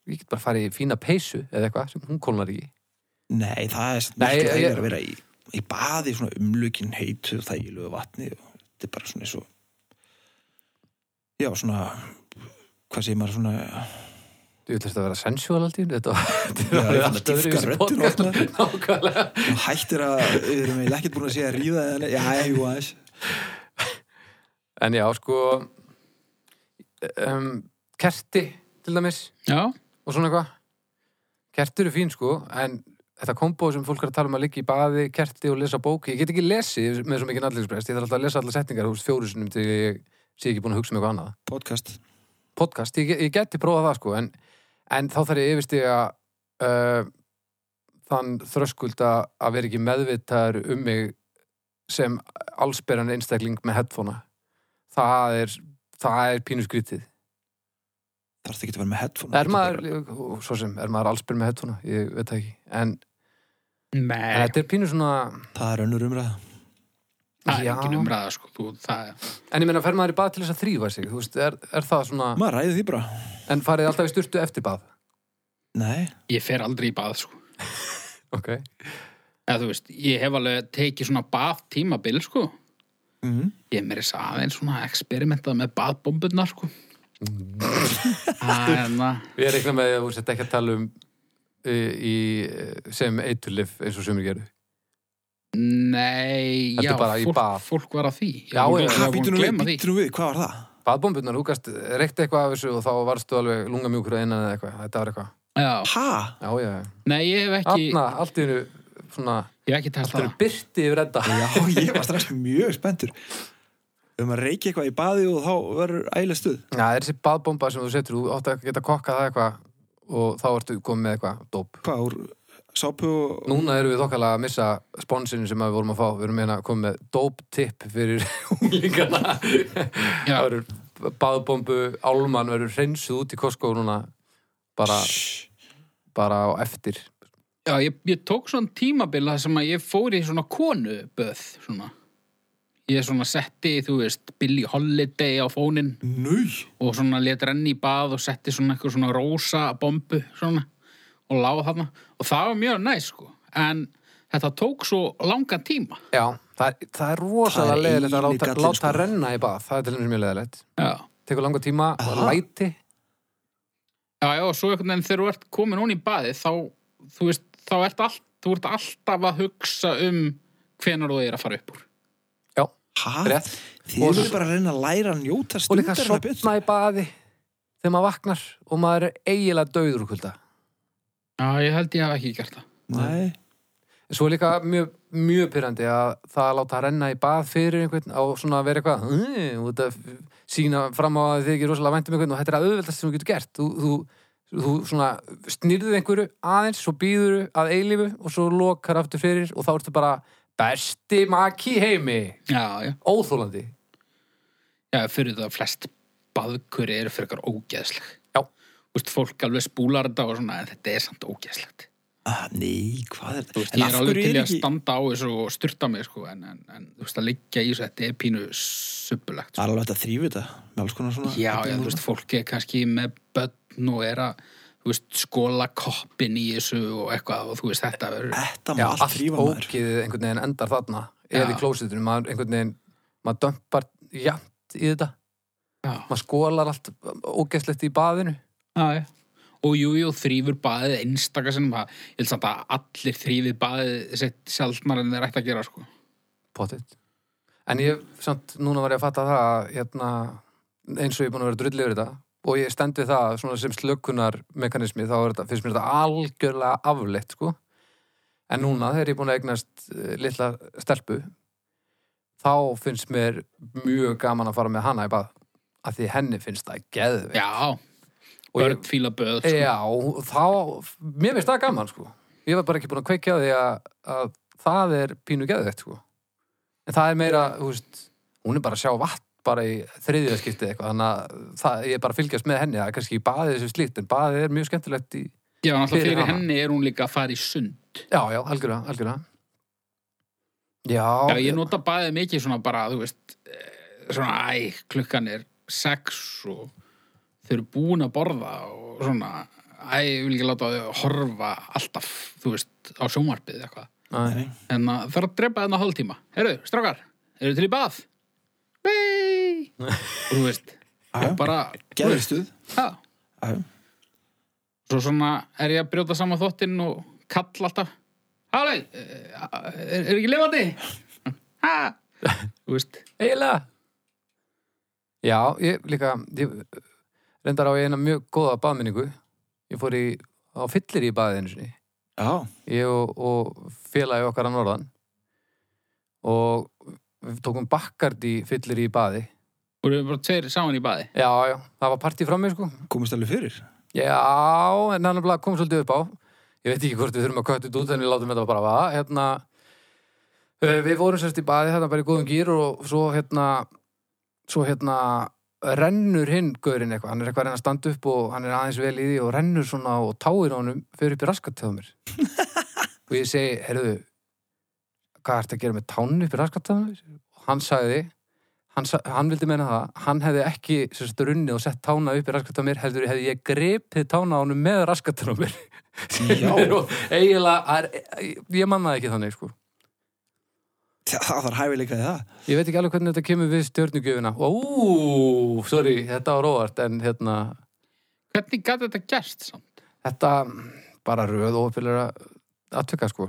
ég get bara farið í fína peysu eða eitthvað sem hún kólnar ekki
nei, það er
Nei,
miklu
ég-
þægilega að vera í, í baði svona umlukin heitu þægilegu vatni og þetta er bara svona eins og já, svona hvað segir maður svona
Þú ætlast að vera sensual allt í einu, þetta var- þetta
Já,
var
ég fann
allt
að dýpka
öðruvísi
röddina
podcast.
og allt
Nákvæmlega
þú hættir að, við erum eiginlega ekkert búin að sé að ríða eða neitt. já, jú, aðeins
En já, sko um, kerti til dæmis
Já,
og svona eitthvað kerti eru fín sko, en þetta kombo sem fólk er að tala um að liggja í baði, kerti og lesa bóki ég get ekki lesið með svo mikið nallegsprest ég þarf alltaf að lesa allar setningar hús fjórusunum til ég sé ekki búin að hugsa um eitthvað annað
podcast
podcast, ég, ég geti prófað það sko en, en þá þarf ég yfirstiga uh, þann þröskulda að vera ekki meðvitaður um mig sem allsberan einstakling með headphonea það er, það er pínu skrítið
þarf það ekki að vera með headphone
er maður, svo sem, er maður allsber með headphonea ég veit það ekki, en, en
nei,
þetta er pínu svona
það er önnur umræða
það er
já.
ekki umræða sko, þú, það er
en ég meina, fer maður í bað til þess að þrýfa sig þú veist, er, er það svona,
maður ræði því bara
en farið alltaf í styrtu eftir bað
nei,
Ég fer aldrei í bað, sko.
ok,
Eða þú veist, ég hef alveg tekið svona bað tímabil, sko.
mhm
Ég er mér þess aðeins svona eksperimentað með baðbombunar, sko. En uh, að,
Ég reikna með því að þú sett ekki að tala um uh, í, uh, sem eiturlif eins og sumir gerðu.
nei,
Þetta
já,
er bara í
fólk,
bað.
fólk var að því. Ég
Já,
var
já.
búin- ég
Hvað
var búin
býtum
að
við,
glemma því.
býtum við, hvað var það?
Baðbombunar, þú gast reikti eitthvað af þessu og þá varstu alveg lunga mjúkur að innan eða eitthvað. Þetta var eitthvað.
Já,
Ha?
Já, já. já.
nei, ég hef ekki,
Þarna, allt í hennu, svona,
ég hef ekki tælt
allt í
það.
hennu byrti yfir þetta.
Já, ég var strax mjög spenntur Ef maður reykja eitthvað í baði og þá verður ægileg stuð
Já, það er þessi baðbomba sem þú setur, þú átt að geta kokkað það eitthvað og þá ertu komið með eitthvað, dóp.
Hvað, úr sápu og
Núna erum við okkala að missa sponsinu sem við vorum að fá. Við erum meina að koma með dóptipp fyrir unglingana.
Já,
Það verður baðbombu, álman verður hreinsuð út í Costco núna bara,
Shhh.
bara á eftir.
já ég, ég tók svona tímabil það sem að ég fór í svona konuböð, svona. Ég svona setti, þú veist, Billy Holiday á fóninn
Nú,
og svona let renni í bað og setti svona eitthvað svona rosa bombu svona og láða þarna og það var mjög næs sko en þetta tók svo langan tíma
Já, það, er- það er
Það
rosalega
er
leðilegt að
eini
láta,
gallinn,
láta
sko.
renna í bað. Það er til þeim mjög leðilegt.
já,
Tekur langa tíma, það
Aha.
er læti.
já, já og svo einhvern veginn þegar þú ert komin hún í baði þá, þú veist, þá ert allt þú ert alltaf að hugsa um hvenar þú er að fara upp úr
Já,
ha?
rétt.
Þið
Og-
verður bara að reyna að læra að njóta
Og líka
stundar
sopna í baði þegar maður vaknar og maður er eiginlega dauður úr kulda.
já, ég held ég hef ekki gert það
Nei,
En Svo er líka mjög, mjög pyrrandi að það að láta renna í bað fyrir einhvern á svona að vera eitthvað "Mm", út að sína fram á að þið ekki rosalega væntum einhvern og þetta er að auðveldast sem þú getur gert þú, þú, þú svona snýrðið einhverju aðeins, svo býður að eilífu og svo lokar aftur fyrir og þá ertu bara besti maki í heimi
já, já,
óþólandi
já, fyrir það að flest baðkuri eru fyrir eitthvað ógeðsleg
Já.
Þú veist, fólk alveg spúlar þetta og svona en þetta er samt ógeðslegt
ah, nei, hvað er
Þú veist,
En
ég er
af
alveg
hverju
til í
er
að
ekki-
standa á þessu og styrta mig, sko, en, en, en þú veist, að liggja í þessu, þetta er pínu suppulegt.
Það
Sko.
er alveg hægt að þrýfa þetta með alls konar svona
Já, já, þú veist, fólk er kannski með börn og er að, þú veist, skóla koppin í þessu og eitthvað og þú veist, þetta verður,
Þetta má
Já,
allt
allt
þrýfa maður
ógiðið einhvern veginn endar þarna
Já.
eða í klósitunum, maður einhvern veginn maður dömpar jant í þetta
já,
maður skólar allt ógeðslegt í baðinu
já, já. Og jú, jú, þrýfur baðið einstaka sem það, ég held samt að allir þrýfið baðið sett sjálfnar en þeir ætti að gera, sko.
Pottit. En ég, samt, núna var ég að fatta það að, hérna, eins og ég er búin að vera drullið yfir þetta og ég stend við það svona sem slökkunarmekanismi þá er þetta, finnst mér þetta algjörlega afleitt, sko. En núna, þegar ég er búin að eignast eh, litla stelpu, þá finnst mér mjög gaman að fara með hana í bað. að því henni finnst það geðveikt.
Já,
Og ég-
börn fíla böð sko.
Já, og þá, mér finnst það gaman sko. Ég var bara ekki búin að kveikja á því að, að það er pínu geðveikt sko. En það er meira, þú veist, hún er bara að sjá vatn bara í þriðjaskiptið eitthvað, þannig að það, ég er bara að fylgjast með henni, það er kannski í baðið sem slíkt, en baðið er mjög skemmtilegt í,
Já, náttúrulega
Fyrir
fyrir
hana.
henni er hún líka að fara í sund
já, já, algjörlega, algjörlega. Já,
Já, ég nota baðið mikið svona bara, þú veist, eh, svona, æ, klukkan er sex og þau eru búin að borða og svona, æ, ég vil ekki láta þau horfa alltaf, þú veist, á sjónvarpið eða eitthvað.
Nei.
En að það er að drepa þarna hálftíma. Herru, strákar, eru til í bað? Nei! og þú veist,
Já, já.
bara,
Geðvistuð.
já.
Já, já.
Svo svona er ég að brjóta saman þvottinn og kalla alltaf. Hálei, er, er ekki lifandi? Ha! Þú veist,
Eiginlega Já, ég líka ég, reyndar á ég eina mjög góða baðminningu Ég fór í, á fyllir í baðið einu sinni
Já,
Ég og, og félagi okkar að norðan og við tókum bakkart í fyllir í baði
voru við bara tveir saman í baði.
Já, já, það var partí frammi sko
komist alveg fyrir.
Já, en hann er bara kom svolítið upp á Ég veit ekki hvort við þurfum að köttu þetta út en við látum þetta bara vaða hérna, eh, Við vorum sérst í baði hérna bara í góðum gýr og svo hérna svo hérna rennur hinn gaurinn eitthvað, hann er eitthvað að reyna að standa upp og hann er aðeins vel í því og rennur svona og táir á honum, fyrir upp í raskat hjá mér og ég segi, heyrðu hvað ertu að gera með tánni upp í raskat hjá mér? og hann sagði hann, sa hann vildi meina það, hann hefði ekki sem sagt runnið og sett tána upp í raskat á mér heldur hefði ég gripið tána á honum með raskatun á mér
Já.
og eiginlega, það er, ég manna það ekki þannig sko
Það það er hæfileika í það.
Ég veit ekki alveg hvernig þetta kemur við stjörnugjöfuna. Ó, sorry, þetta var óvart, en hérna,
Hvernig gæti þetta gerst samt?
þetta bara röð ófélagra atvika, sko.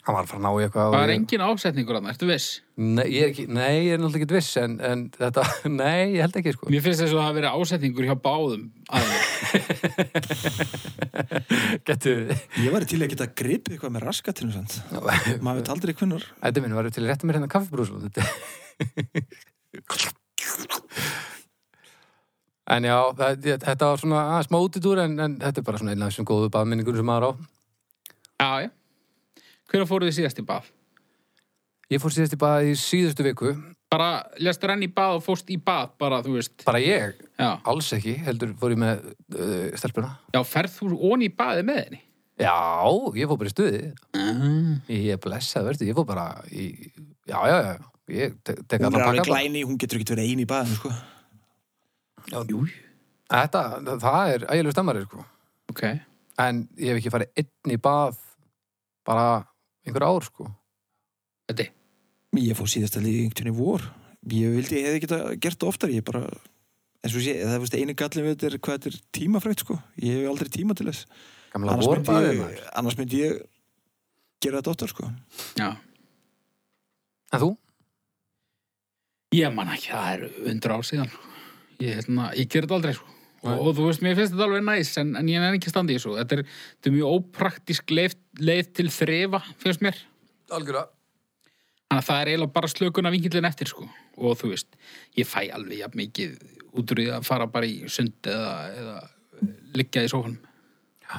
Hann var að fara að ná í eitthvað. og
Það er
ég-
engin ásetningur að það, ertu viss?
Nei, ég er, ekki, nei, ég er náttúrulega ekki viss, en, en þetta, nei, ég held ekki, sko.
Mér finnst þess að það hafi verið ásetningur hjá báðum. aðilum.
Getu,
Ég var til að geta gripið eitthvað með raskatinu sant. Maður veit aldrei hvernar.
þetta minn var til að rétta mér hérna kaffibrúsum, þetta. En já, það- ég- þetta var svona aðeins smá útidúr, en, en þetta er bara svona einn af þessum góðu baðminningur sem maður á.
Já, já. Hvernig fóruð þið síðast í bað?
Ég fór síðast í bað í síðustu viku,
Bara, lest renn í bað og fórst í bað, bara, þú veist.
bara ég,
Já,
alls ekki, heldur fór ég með uh, stelpuna.
já ferð þú ón í baði með henni?
Já, ég fór bara í stuði.
Ah,
Ég er blessað, verður, ég fór bara í, já, já, já, ég te tek
Hún
allan
er alveg
pakkann.
glæni, hún getur ekki verið einu í baðinu, sko.
Jú.
Þetta, það er ægilegur stammari, sko.
Ok.
En ég hef ekki farið einn í bað bara einhver ár, sko.
Þetta, er-
Ég fór síðast að líka einhvern veginn í vor. Ég vildi, ég hefði geta gert það oftar, ég bara, eins og sé, það er veist, einu gallin við þetta er hvað þetta er tímafrætt, sko. Ég hef aldrei tíma til þess.
Gamla
Annars myndi,
vorbaðið
ég,
maður.
annars myndi ég gera þetta oftar, sko.
já.
En þú?
Ég man ekki, það er undra ár síðan. Ég, hérna, ég ger þetta aldrei, sko. Og,
Nei.
og þú veist, mér finnst þetta alveg næs, en, en ég er ekki standið í þessu. Þetta er, þetta er mjög ópraktísk leið, leið til þrefa, finnst mér.
Algjörða.
Þannig að það er eiginlega bara slökuna vingillin eftir sko og þú veist, ég fæ alveg jafn mikið út úr því að fara bara í sund eða, eða liggja í sófanum.
Já.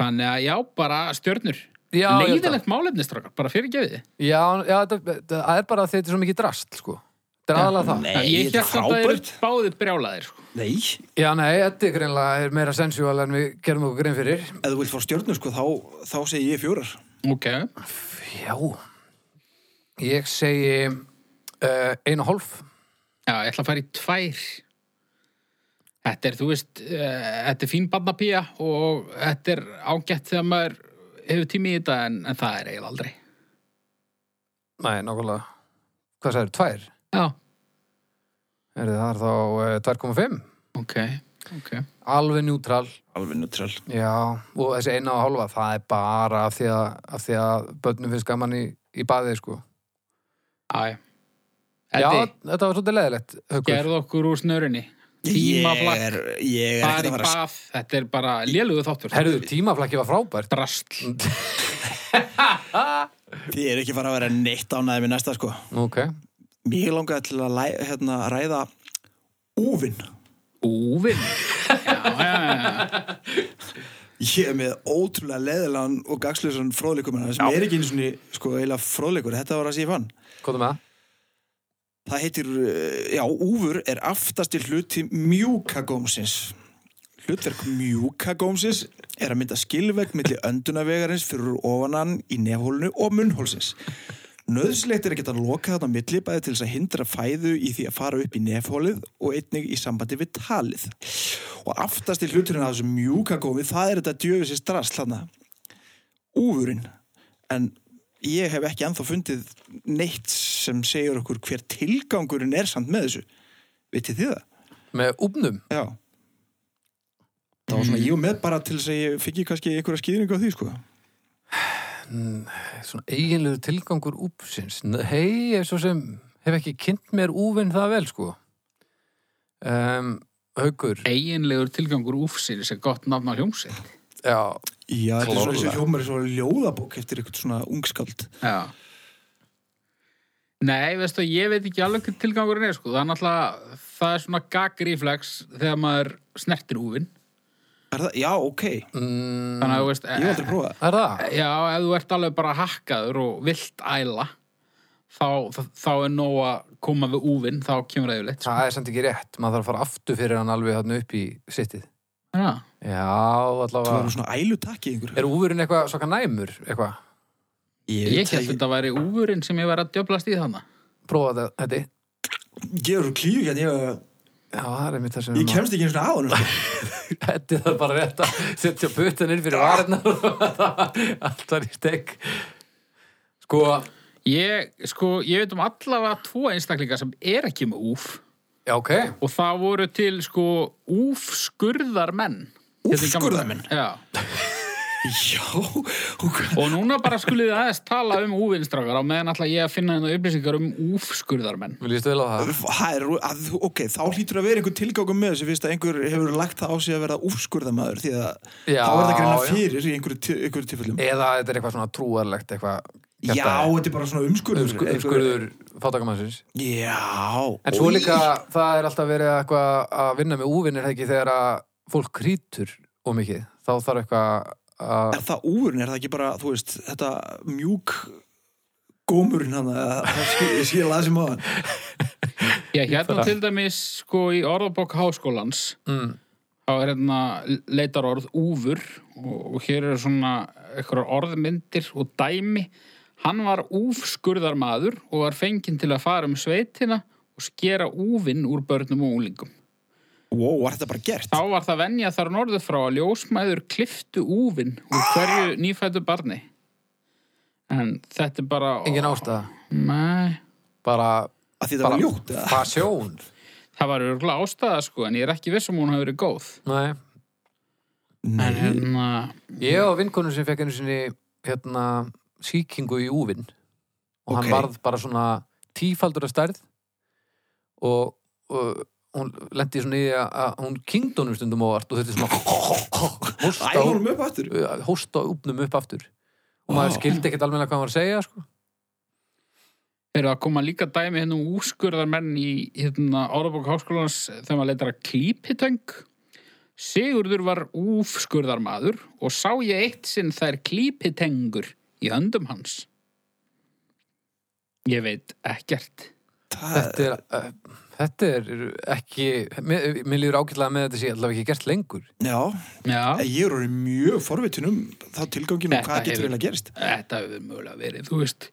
Þannig að já, bara stjörnur.
Já, ég held að-
Leiðilegt málefni strákar, bara fyrir gefiði.
já, já, þetta það er bara að þetta er svo mikið drast, sko. Þetta er
Já,
aðalega það.
nei.
ég
þetta er
hélt að það eru
frábært.
báðir brjálaðir sko.
Nei.
Já, nei, þetta er greinlega er meira sensuál en við gerum okkur grein fyrir.
Ef þú vilt fá stjörnur, sko, þá, þá segi ég fjórar.
Ok,
Já, ég segi uh, einu hálf.
já, ég ætla að fara í tvær. Þetta er, þú veist, uh, þetta er fín barnapía og þetta er ágætt þegar maður hefur tími í þetta en, en það er eiginlega aldrei.
Nei, nákvæmlega. Hvað sagður, tvær?
Já,
Er það er þá uh, 2,5?
ok, ok.
Alveg njútral.
Alveg neutral.
Já, og þessi eina og hálfa, það er bara af því að, af því að börnum finnst gaman í, í baðið, sko.
Æ.
Já,
Eddi,
þetta var svolítið leðilegt, haukur.
gerð okkur úr snörinni.
Ég
Tímaflakk,
er, ég er
fari
ekkert að fara að
baf, þetta er bara lélugu þáttur.
Herðu, tímaflakki var frábært.
Drastl.
Þið er ekki fara að vera neitt ánæði með næsta sko.
Ok,
Mér langaði til að læ, hérna, ræða Úvinn
Úvinn Já, já, já,
Ég er með ótrúlega leðilegan og gagslösan fróðleikum hennar sem er ekki eins og sko eiginlega fróðleikur, þetta var að sé fann
Hvað með það?
Það heitir, eh, já, úfur er aftasti hluti mjúkagómsins. Hlutverk mjúkagómsins er að mynda skilvegg milli öndunavegarins fyrir ofanan í nefhólinu og munnhólsins. Nauðslegt er að geta lokað þarna á milli bæði til þess að hindra fæðu í því að fara upp í nefhólið og einnig í sambandi við talið. Og aftasti hluturinn af þessu mjúkagómi, það er þetta djöfisins drast þarna. Úfurinn. En ég hef ekki anþá fundið neitt sem segir okkur hver tilgangurinn er samt með þessu vitið þið það?
Með úpnum?
Já það var svona ég og með bara til þess að ég fengi kannski einhverja skýringu á því sko
Svona eiginlegu tilgangur úpsins. Hei, ég svo sem hef ekki kynnt mér úvinn það vel, sko. Um, haukur,
Eiginlegur tilgangur úfsins er gott nafn á hljómsveit.
já,
já, þetta er svona eins og
Klárlega.
hjómar er svona ljóðabók eftir eitthvað svona ungskald
Já. Nei, veistu, ég veit ekki alveg hvað tilgangurinn er, sko. Það er náttúrulega, það er svona gaggriflex þegar maður snertir úfinn.
er það? já, ok,
mm,
Þannig að, þú veist,
ég hef aldrei prófað
það er það.
já, ef þú ert alveg bara hakkaður og vilt æla, þá, þá, þá er nóg að koma við úfinn, þá kemur það yfirleitt. sko.
Það er samt ekki rétt, maður þarf að fara aftur fyrir hann alveg hann upp í sittið.
Já.
Já,
það var
allavega.
nú svona ælutakki einhver
Er úfurinn eitthvað svaka næmur, eitthvað?
ég,
Ég
veit
held
það ekki.
þetta væri úfurinn sem ég var að djöblast í þannig.
Prófa þetta, þetta.
ég er úr klíu hérna ég,
Já, það er einmitt það sem...
ég kemst ekki einu svona aðan sko.
Þetta er bara rétt að setja putin inn fyrir varinnar og allt var í stekk. Sko,
Ég, sko, ég veit um allavega tvo einstaklinga sem er ekki með úf
já, ok.
og það voru til, sko, úfskurðarmenn. Hérna í gamla daga.
Úfskurðarmenn?
Já.
já, ok
Og núna bara skulið þið aðeins tala um úvinstrákar á meðan alltaf ég að finna hérna upplýsingar um úfskurðarmenn.
Mér líst vel á það.
Það er, að, ok, þá hlýtur að vera einhver tilgákum með þessu fyrst að einhver hefur lagt það á sig að vera úfskurðamaður því að
Já,
þá er það greina
já.
fyrir í einhverju, til- einhverju tilfellum
Eða þetta er eitthvað svona trúarlegt, eitthvað...
Já, þetta er bara svona umskurður
Umskur-
einhver-
umskurður fátakamannsins.
Já
En svo
Í,
líka, það er alltaf verið eitthvað að vinna með úvinnir ekki þegar að fólk krítur og mikið. Þá þarf eitthvað að...
Er það úrun, er það ekki bara, þú veist, þetta mjúk gómurinn hann ég um sé að sem á hann
Ég hérna til dæmis, sko, í orðabokk háskólans,
Mm,
þá er hérna leitarorð úfur og, og hér eru svona eitthvað orðmyndir og dæmi. Hann var úfskurðarmaður og var fenginn til að fara um sveitina og skera úfinn úr börnum og úlingum.
Wow, var þetta bara gert?
Þá var það venja þar norður frá að ljósmæður kliftu úfinn úr hverju nýfættu barni. En þetta er bara...
engin ástæða.
Nei,
Bara...
Af því það
bara
var ljótt eða?
Pasjón.
það var örgulega ástæða sko, en ég er ekki viss um hún hafi verið góð.
Nei.
En
Nei,
hérna,
Ég á vinkonu sem fekk einu sinni hérna, sýkingu í úvinn og hann
Ok.
varð bara svona tífaldur að stærð og, og hún lendi svona í að, að hún kingd honum stundum og vart og þetta
Æ,
svona
honum upp aftur
hósta, hósta úpnum upp aftur og maður
Vá.
skildi ekkert alveg hvað hann var að segja sko.
eru að koma líka dæmi hérna um úskurðarmenn í hérna, Árabók Háskólans þegar maður leitar að klípitöng. Sigurður var úfskurðarmaður og sá ég eitt sinn þær klípitengur í höndum hans. Ég veit ekkert.
Það-
þetta, er, uh, þetta er ekki mér, mér líður ágætlega með þetta sé allavega ekki gert lengur
Já,
Já.
ég er orðin mjög forvitin um þá tilgangin og
Þetta
hvað getur
hefur-
eiginlega gerst
Þetta hefur mögulega verið, þú veist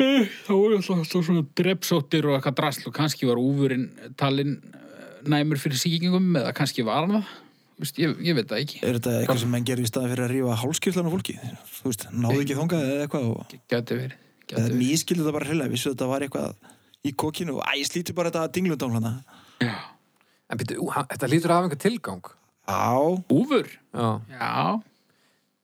Eh, þá voru alltaf alltaf svona drepsóttir og eitthvað drasl og kannski var úfurinn talinn eh, næmur fyrir sýkingum eða kannski var hann það Þú veist, ég, ég veit það ekki
Er þetta eitthvað sem menn gerir í staðan fyrir að rífa hálskirtlan á fólki? Þú veist, náðu ekki þangað eða eitthvað og
Gæti verið,
eða
gæti verið.
mískildu þetta bara hreila, vissu þetta var eitthvað í kokinu og æ, ég slíti bara þetta dinglundám hana.
Já.
en býttu, ú, hann- þetta lítur að hafa einhver tilgang
Já,
Úfur?
já,
Já,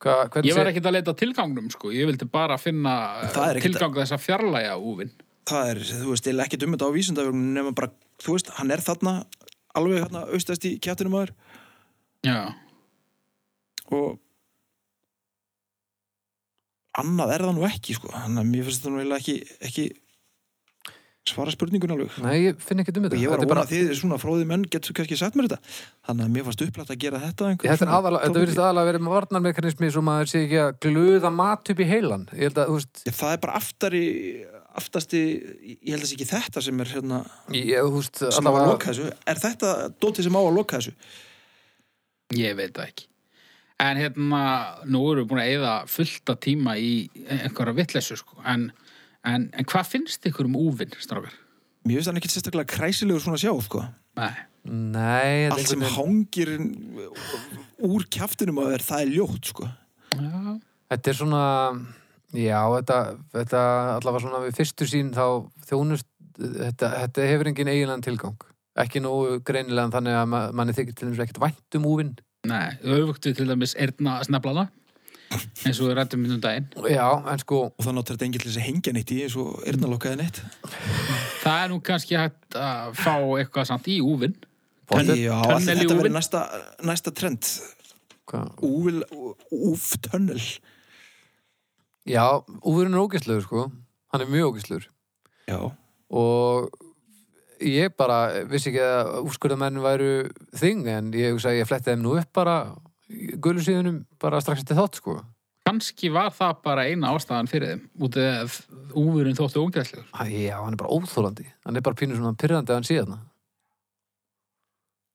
Hva, hvernig
ég var
sé-
ekkert að leita að tilgangnum sko, ég vildi bara finna eh,
Það er ekkert-
tilgang þess að fjarlæga úfinn
það er, þú veist, eða ekki dummið um á vísundafjörnum nema bara, þú veist, hann er þarna alveg þarna austast í kjættinum aður
Já,
og annað er það nú ekki, sko þannig að mér finnst þetta nú eiginlega ekki, ekki svara spurningun alveg
Nei, ég finn ekki um
og
þetta.
ég var
Þetta
að
er
vona
bara,
að þið svona fróði menn getur kannski sagt mér þetta þannig að mér fannst upplætt að gera þetta að einhverju
Þetta er
svona
aðalega, þetta
tóbaki.
verðist aðalega verið með varnarmekanismi svo maður sé ekki að glöða mat upp í heilan. Ég held að, þú veist,
Ég, það er bara aftari aftasti, ég held að sé ekki þetta sem er hérna,
ég, þú veist,
sem á að loka þessu er þetta dótið sem á að loka þessu
Ég veit það ekki. En hérna, nú erum við búin að eyða fullta tíma í einhverja vitleysu, sko. En, en, en hvað finnst ykkur um úvinn, strákar?
mér finnst hann ekki sérstaklega kræsilegur svona að sjá sko.
Nei.
Nei, þetta er
allt sem
einhvern veginn-
hangir úr kjaftinum að vera það er ljótt sko.
Já.
Þetta er svona, já, þetta, þetta allavega svona við fyrstu sín þá þjónust, þetta, þetta hefur engin eiginlegan tilgang. Ekki nógu greinilegan þannig að ma- manni þykir til þess ekkert vænt um úvinn.
Nei, öfugt við til dæmis erna sneflana, eins og við rættum minnum daginn.
Já, en sko,
og þannig að þetta enginn til þess að hengja neitt í eins og
Mm.
ernalokkaði neitt
Það er nú kannski hægt að fá eitthvað samt í úvinn.
Tönn,
Pottet-
já,
tunnel
allir,
í
þetta verður
úfinn.
næsta, næsta trend
hvað-
Úvil, úftönnel
já, úvinn er ógæstlegur sko, hann er mjög ógæstlegur.
Já,
og ég bara vissi ekki að úrskurðamenn væru þing en ég hugsa að ég fletti þeim nú upp bara gullu síðunum bara strax eftir þátt sko
Kannski var það bara eina ástæðan fyrir þeim, út af úvinn þóttu ógæðslegur.
Æ, Já, hann er bara óþólandi hann er bara pínu svona pyrrandi að hann síðan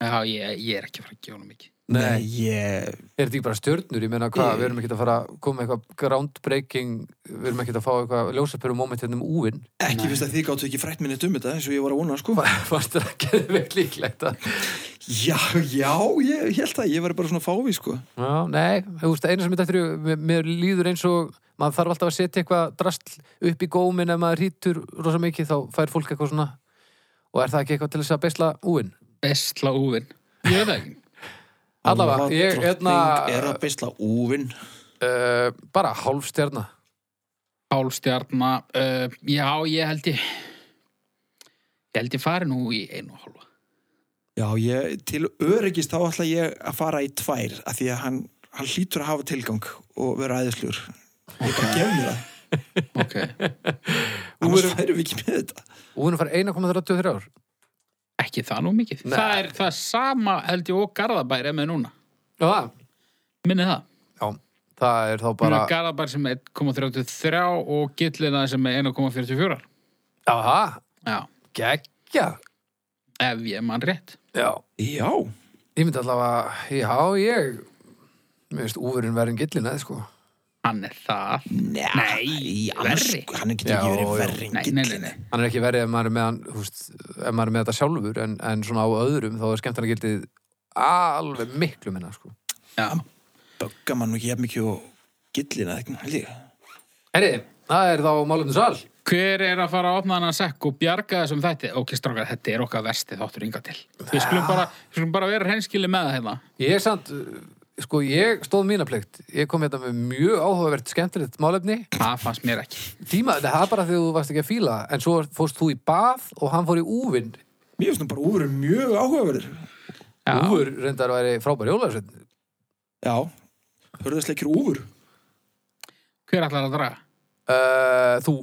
Já, ég, ég er ekki að fara að gefa honum mikið.
nei, ég
Er þetta ekki bara stjörnur? Ég meina hvað, við erum ekki að fara að koma með eitthvað groundbreaking við erum ekki að fá eitthvað ljósapyrru moment hérna um úvinn
ekki
Nei.
finnst að þið gáttu ekki frætt minni um þetta eins og ég var að vona sko
Fannst þetta ekki vel líklegt að
Já, já, ég, ég held að ég var bara svona fávi sko
Já, nei, þú veist, eina sem þetta eftir í- mér- mér líður eins og maður þarf alltaf að setja eitthvað drastl upp í gómin ef maður hýtur rosa mikið þá fær fólk eitthvað svona og er það ekki eitthvað til þess að besla úin
Bestla úvinn. Ég veit það ekki.
allavega,
Allavega,
ég, hérna
drottning er að beisla úvin
uh, bara hálf stjarna
Hálfstjarna, uh, já, ég held ég, ég held ég fari nú í einu og hálfa.
Já, ég, til öryggist þá ætla ég að fara í tvær af því að hann, hann hlýtur að hafa tilgang og vera æðislur Ég bara gef mér það,
Ok.
annars færum við ekki með þetta
úin fær 1,33 ár
Ekki það nú mikið.
Nei.
Það er, það er sama, held ég, og Garðabær er með núna.
Já,
Minni það.
já, það er þá
Bara...
bara
Garðabær sem er 1,33 og Gillina sem er 1,44.
Jaha,
Já,
geggja
ef ég mann rétt.
Já,
Já,
ég myndi allavega já, ég mér veist úfurinn verðin gillin eða sko
Hann er það.
Njá,
Nei,
annars-
verri.
Hann getur
Já,
ekki verið
já.
verri en
Nei, nei, nei,
gillin.
nei.
hann er ekki verið ef maður er með, hann, húst, ef maður er með þetta sjálfur en, en svona á öðrum þá er skemmtarnagildið alveg miklu minna sko.
Já.
Böggar mann nú ekki jafn mikið og gillin að ekki, held ég.
Herri, það er þá málum sal
Hver er að fara að opna hann að sekk og bjarga þessum þætti? Ok, strákar, þetta er okkar versti þáttur yngar til. Við skulum bara, við skulum bara vera hreinskili með það hérna.
Ég er samt, uh, sko ég stóð mína plegt ég kom hérna með mjög áhugavert skemmtilegt málefni
Það fannst mér ekki.
tíma, það er bara þegar þú varst ekki að fíla en svo fórst þú í bað og hann fór í úvinn
Mér finnst nú bara úfur mjög áhugaverður.
Já.
úfur reyndar væri frábær jólarsveit
Já, hörðasleikir úfur.
Hver ætlar að draga?
uh, Þú,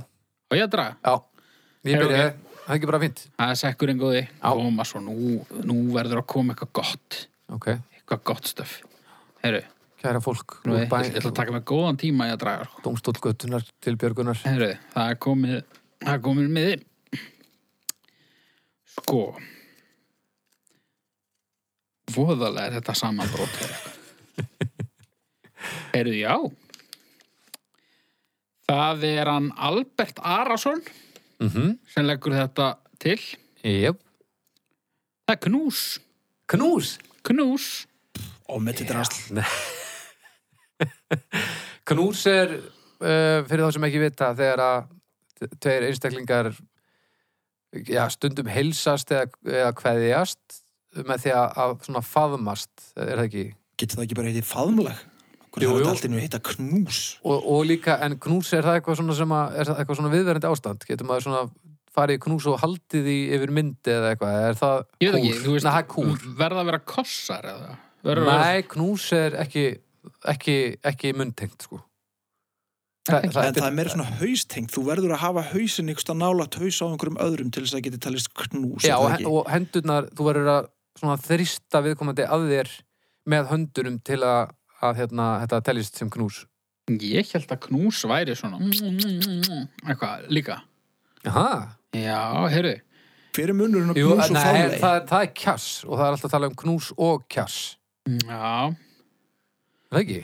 Og ég að draga.
já Ég
Er
byrjaði, það er ekki bara fínt
Það er sekkurinn góði. Koma svo, nú, nú verður að koma eitthvað gott.
Ok,
Eitthvað gott stöf. Herru,
kæra fólk
nú ég, ég ætla að taka mig góðan tíma í að draga. sko.
Dómstólgötunar til Björgunar
Herru, það er komið, það er komið með þið. Sko. Voðalega er þetta samanbrót. Herru, já. Það er hann Albert Arason
mm -hmm.
sem leggur þetta til.
Jöp
Það er knús.
Knús
Knús.
Og með þetta rast.
Knús er, uh, fyrir þá sem ekki vita, þegar að tveir einstaklingar já, stundum heilsast eða, eða kveðjast með því að, að svona faðmast, er það ekki?
Getur það ekki bara heitið faðmlag? Hvernig
Jú,
er
jú.
þetta allt innu heita knús?
Og, og líka, en knús er það eitthvað svona, sem að, er það eitthvað svona viðverandi ástand? Getur maður svona farið í knús og haldið í yfir myndi eða eitthvað? Er það
Ég veit ekki, þú veist,
Nei, það er kúr.
verða að vera kossar eða? Verða að vera,
Nei, knús er ekki, ekki, ekki munntengt, sko. Þa,
en það er meira svona haustengt þú verður að hafa hausin ykkurst að nála haus á einhverjum öðrum til þess að geti talist knús
já,
er
og,
það
hen-
ekki?
og hendurnar, þú verður að svona þrista viðkomandi að þér með höndurum til að, að hérna, þetta teljist sem knús
Ég held að knús væri svona
Mm,
eitthvað líka.
Aha.
Já, heyrðu,
hver er munurinn á
Jú,
knús og
nei,
fálei
það, það er kjass og það er alltaf að tala um knús og kjass
já,
er það ekki?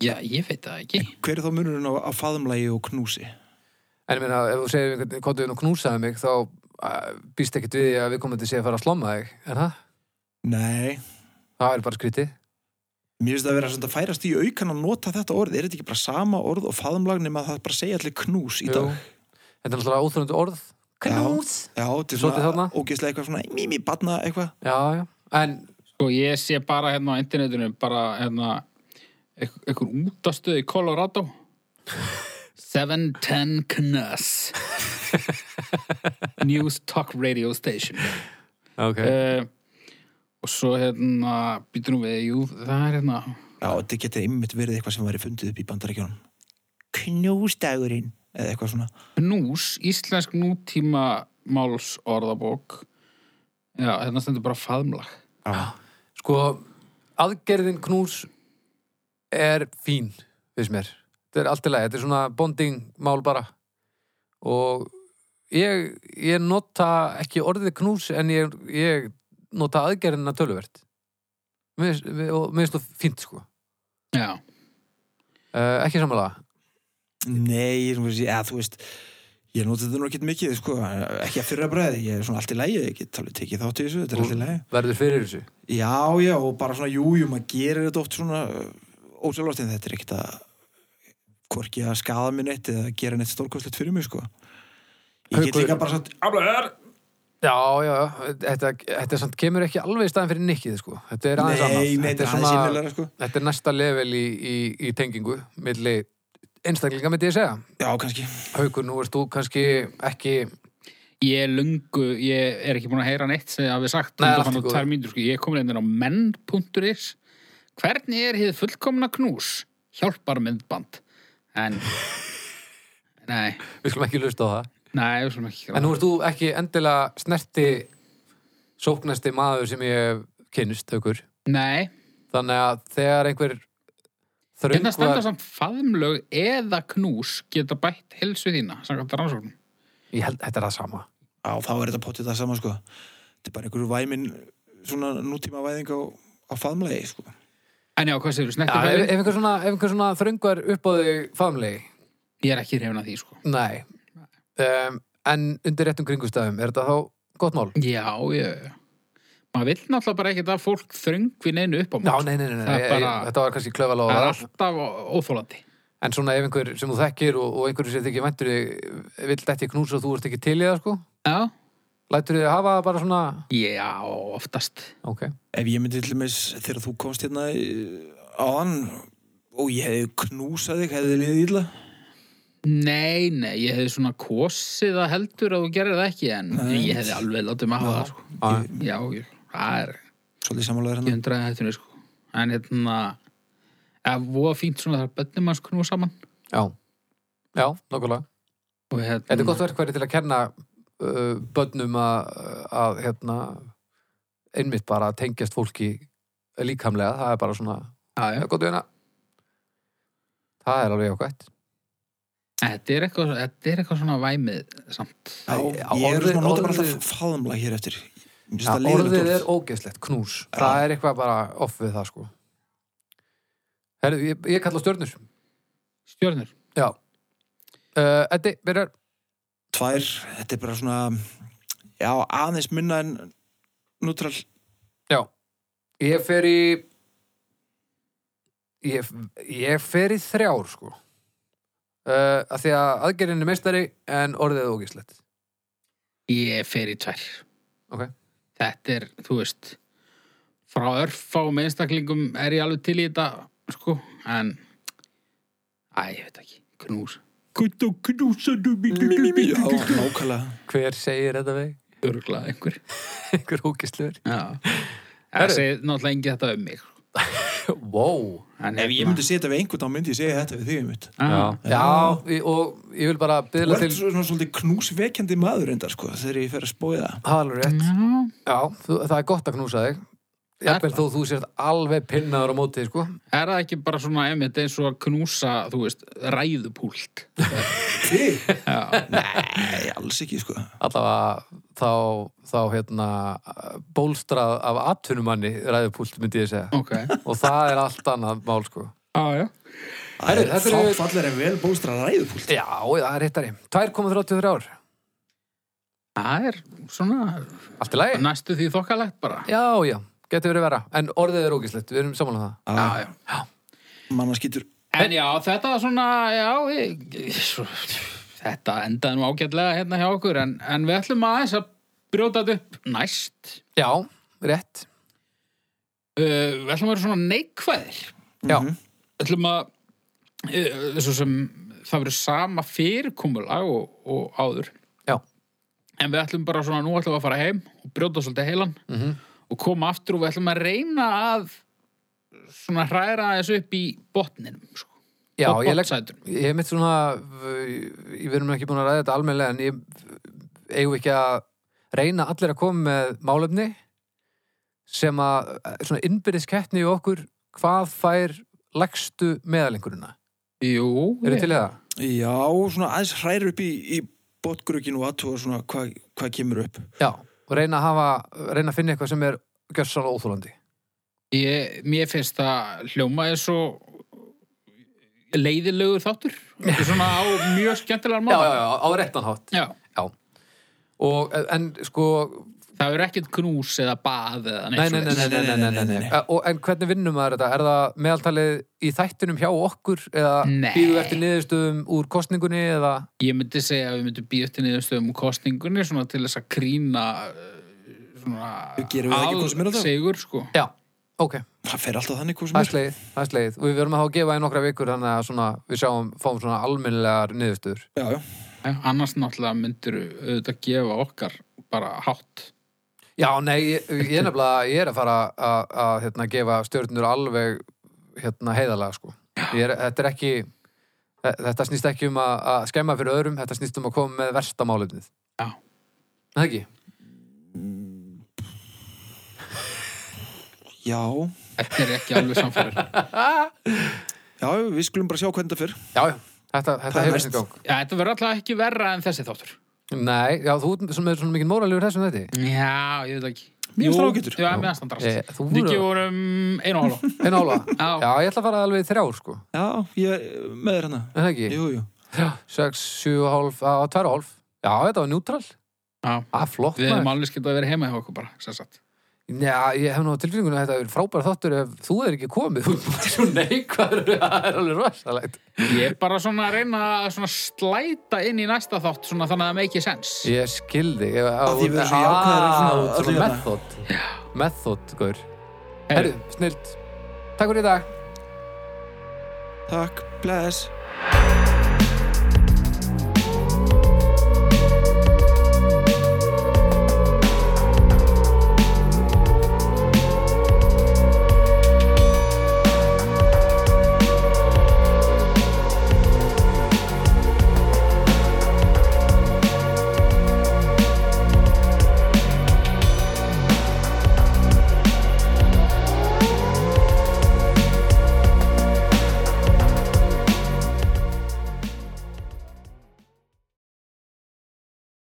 já, ég veit það ekki.
hver er þá munurinn á, á faðumlægi og knúsi
En ég meina, ef þú segir einhvern hvað þú knúsaði mig, þá uh, býst ekkert við því að við komum til að fara að slomma þig, er það?
nei,
Það er bara skrítið.
mér finnst það að vera svona að færast í aukan að nota þetta orð, er þetta ekki bara sama orð og faðumlag nema að það bara segja allir knús í
Jú.
dag
Þetta er náttúrulega óþröndu orð. Knús!
já, þetta er
Svolítið
svona
þarna.
ógeðslega eitthvað svona mimi, badna eitthvað
Já, já. En,
Sko, ég sé bara hérna á internetinu, bara hérna, eit- einhver útastöð í Colorado. 710 Knus. News Talk Radio Station.
ok.
Uh, og svo hérna, býtur nú við, jú, það er hérna,
já, þetta getur einmitt verið eitthvað sem væri fundið upp í bandaríkjónum knúsdagurinn eða eitthvað svona
Knús, íslensk nútíma máls orðabók. Já, hérna stendur bara faðmlag.
já,
Sko, aðgerðin knús er fín, veist mér. Þetta er allt í lagi, þetta er svona bondingmál bara. Og ég, ég nota ekki orðið knús, en ég, ég nota aðgerðina töluvert. Mér finnst- og mér finnst þú fínt, sko.
Já.
Uh, ekki samanlega.
Nei, ég, þú veist, ja, þú veist ég noti þetta nú ekkert mikið, sko ekki að fyrra bræði, ég er svona allt í lægi ég get alveg tekið þátt í þessu, þetta er allt í lægi
verður fyrir þessu
Já, já, og bara svona, jú, jú, maður gerir þetta oft svona ósjálfast en þetta er ekkert að hvorki að skaða mér neitt eða gera neitt stórkostlegt fyrir mig, sko Ég get
Haukur.
líka bara sagt, aflegar
Já, já, þetta, þetta samt kemur ekki alveg í staðin fyrir nikkið sko. Þetta er aðeins annað
Nei, nei,
þetta, er
aðeins innilegra, sko
þetta er næsta level í, í, í tengingu milli einstaklinga myndi ég segja
Já, kannski
Haukur, nú ert þú kannski ekki
Ég er lungu, ég er ekki búin að heyra neitt sem ég hafi sagt
Nei, allt
undan
í
fann á
góðu.
tvær mínútur, sko. Ég er komin einnig á menn.is Hvernig er hið fullkomna knús? Hjálpar myndband En Nei,
við skulum ekki lusta á það
nei, við skulum ekki
en nú ert þú ekki endilega snerti sóknasti maður sem ég hef kynnist, Haukur
Nei,
þannig að þegar einhver
hérna stendur
þröngvar
samt faðmlög eða knús geta bætt helsu þína, samkvæmt rannsóknum
ég held, þetta er það sama
Já, þá er þetta potið það sama, sko Þetta er bara einhverju væmin svona nútíma væðing á, á faðmlegi, sko
En já, hvað segir þú,
Já,
snertir
ef,
fæðin?
ef einhver svona, ef einhver svona þröngvar upp á þig famlegi
Ég er ekki hrefna því, sko
Nei um, En undir réttum kringustæðum, er þetta þá gott mál?
Já, ég Maður vill náttúrulega bara ekkert að fólk þröngvi neinu upp á
Já,
maður
nei, nei, nei, nei.
Það er
ég-
bara-
ég- þetta var kannski klöfal á
Það er alltaf óþólandi
En svona ef einhver sem þú þekkir og, og einhver sem þið ekki væntur þig vill þetta í knús og þú ert ekki til í það, sko
Já,
Lætur þið hafa það bara svona
Já, oftast.
Ok,
Ef ég myndi til dæmis þegar þú komst hérna í- áðan og ég hefði knúsað þig, hefði liðið illa
Nei, nei, ég hefði svona kosið að heldur að þú gerir það ekki, en ég hefði alveg látið maður hafa það, sko.
Já.
Já, ég, það er
Svolítið samanlega
ekki
hérna
undraðið hættinu, sko. En hérna, það voða fínt svona þar bönnum manns knúa saman.
já Já, nokkulega
Og hérna,
Þetta er gott verkværi til að kenna uh, bönnum að, að hérna einmitt bara að tengjast fólki líkamlega, það er bara svona
Já, já.
Já, gott við hérna Það er alveg okkvætt
Þetta er eitthvað, þetta er eitthvað svona væmið samt.
Já,
Já,
Ég er
orðið-
svona að nota bara
orðið-
alltaf faðumla hér eftir Mér finnst
Ja,
það leiðilegt
orðið er
orð.
ógeðslegt, knús Það er eitthvað bara off við það sko Herðu, ég, ég kalla á stjörnur
Stjörnur.
Já uh, Eddi, byrjar
Tvær, þetta er bara svona Já, aðeins minna en Nútrál
Já Ég fer í Ég, ég fer í þrjár sko uh, að Því að aðgerðin er meistari en orðið er ógeðslegt
Ég fer í tvær.
Ok
Þetta er, þú veist, frá örfá með einstaklingum er ég alveg til í þetta, sko, en, æ, ég veit ekki, knús. Kutt og knúsaðu
Já, nákvæmlega
Hver segir þetta veg?
Örglað einhver.
Einhver ógeðslegur
Já. Það segir náttúrulega engi þetta um mig.
Vá wow.
En hérna.
Ef ég myndi setja við einhvern þá myndi ég segja þetta við þig um þetta.
Já,
Já,
já í- og ég vil bara
Þú
byrja
ert
til
svona svolítið knúsvekjandi maður undar sko þegar ég fer að spóið það.
halur rétt
já.
Já, þú, það er gott að knúsa þig Jafnvel þó þú sért alveg pinnaður á móti sko.
Er það ekki bara svona einmitt eins og að knúsa, þú veist, ræðupúlt?
Þig? Nei, alls ekki sko.
Allavega þá, þá hérna, bólstrað af atvinnumanni ræðupúlt myndi ég segja
Ok.
og það er allt annað mál sko.
Já, já.
Herru,
Það er
þetta eru-
fáfallar en vel bóstra ræðupúl.
Já, það er hittari 2,33 ár,
Það er svona
allt í lagi
næstu því þokkalegt bara.
Já, já, getur verið vera En orðið er ógislegt, við erum samanlega það
Já, já.
Manna skýtur
En já, þetta svona, já, ég, svo, þetta endaði nú ágætlega hérna hjá okkur, en, en við ætlum aðeins að brjóta þetta upp næst.
Já, rétt
Uh, við ætlum að vera svona neikvæðir.
Já,
Við ætlum að, uh, svo sem það verður sama fyrirkomulag og, og áður,
já,
en við ætlum bara svona, nú ætlum við að fara heim og brjóta svolítið heilan
Mhm.
og koma aftur og við ætlum að reyna að svona hræra þessu upp í botninum, sko.
já
Bot-
ég legg
botnsætunum.
Ég hef mitt svona v- við erum ekki búin að ræða þetta almennilega en ég eigum við ekki að reyna allir að koma með málefni sem að eh, svona innbyrðis keppni í okkur hvað fær lægstu meðalengurina
Jú,
eru
ég-
til í það?
Já, svona aðeins hræður upp í, í botgrukinu og aðtúa svona hvað hva kemur upp.
Já, og reyna að hafa reyna að finna eitthvað sem er gjörsann óþólandi
Ég, mér finnst það hljóma er svo leiðilegur þáttur Þetta er svona á mjög skemmtilegar
Já, já,
mála
já, á réttanhátt
já.
Já, og en sko
það er ekkert knús eða bað eða
Nei,
neitt
nei, nei, nei, nei, nei, nei, nei. Eh, Og, En hvernig vinnum maður þetta? Er það meðaltalið í þættinum hjá okkur eða
Nei.
býðu eftir niðurstöðum úr kostningunni eða
ég myndi segja að við myndum býja eftir niðurstöðum úr kosningunni svona til þess að krýna eh,
Gerum við það ekki hvað sem
svona
er á það?
sigur sko
Já, ok,
Það fer alltaf þannig hvað sem
það er
er. sko.
slegið, það er slegið og við verum að hafa að gefa í nokkra vikur þannig að svona, við sjáum, fáum svona almennilegar niðurstöður
Já, já.
Eh, annars náttúrulega myndir auðvitað gefa okkar bara hátt
Já, nei, ég, ég er nefnilega ég er að fara að- að hérna, gefa stjörnur alveg hérna, heiðalega sko. Ég er, þetta er ekki þe- þetta snýst ekki um að, að skemma fyrir öðrum, þetta snýst um að koma með versta málefnið
Já.
Er Það ekki?
Já,
þetta er ekki alveg samfærir
já, við skulum bara sjá hvernig það fer.
Já, já, þetta, þetta
er
hefur
verst.
sinn gang
Já, þetta verður alltaf ekki verra en þessi þáttur
Nei, já, þú ert svona, svona mikið móralegur þessum þetta
Já, ég veit ekki
Mér
Jú,
finnst það ágætur.
Já, mér finnst það
Eh,
drast
þú voru-
Nikki vorum einu og hálfa
En ála,
Já.
já, ég ætla að fara alveg í þrjár sko,
Já, ég er með þér hana.
er það ekki?
Jú, jú.
6, 7,5 á 2,5 Já, þetta var njútrál
Já.
ah, Flott
Við erum
maður
alveg skilt að vera heima hjá okkur bara sem sagt.
Já, ég hef nú á tilfinningunni að þetta er frábæra þáttur ef þú er ekki komið Þú er bara svo neikvæður Það er alveg rosalegt
Ég er bara svona að reyna að svona slæta inn í næsta þátt svona þannig að það make sense
Ég skildi Ég, á,
því við erum svo jákvæðir og svona
Ah, svona,
öllu
svona
hérna.
method Method, gaur Herru, snilt Takk fyrir í dag
Takk, bless.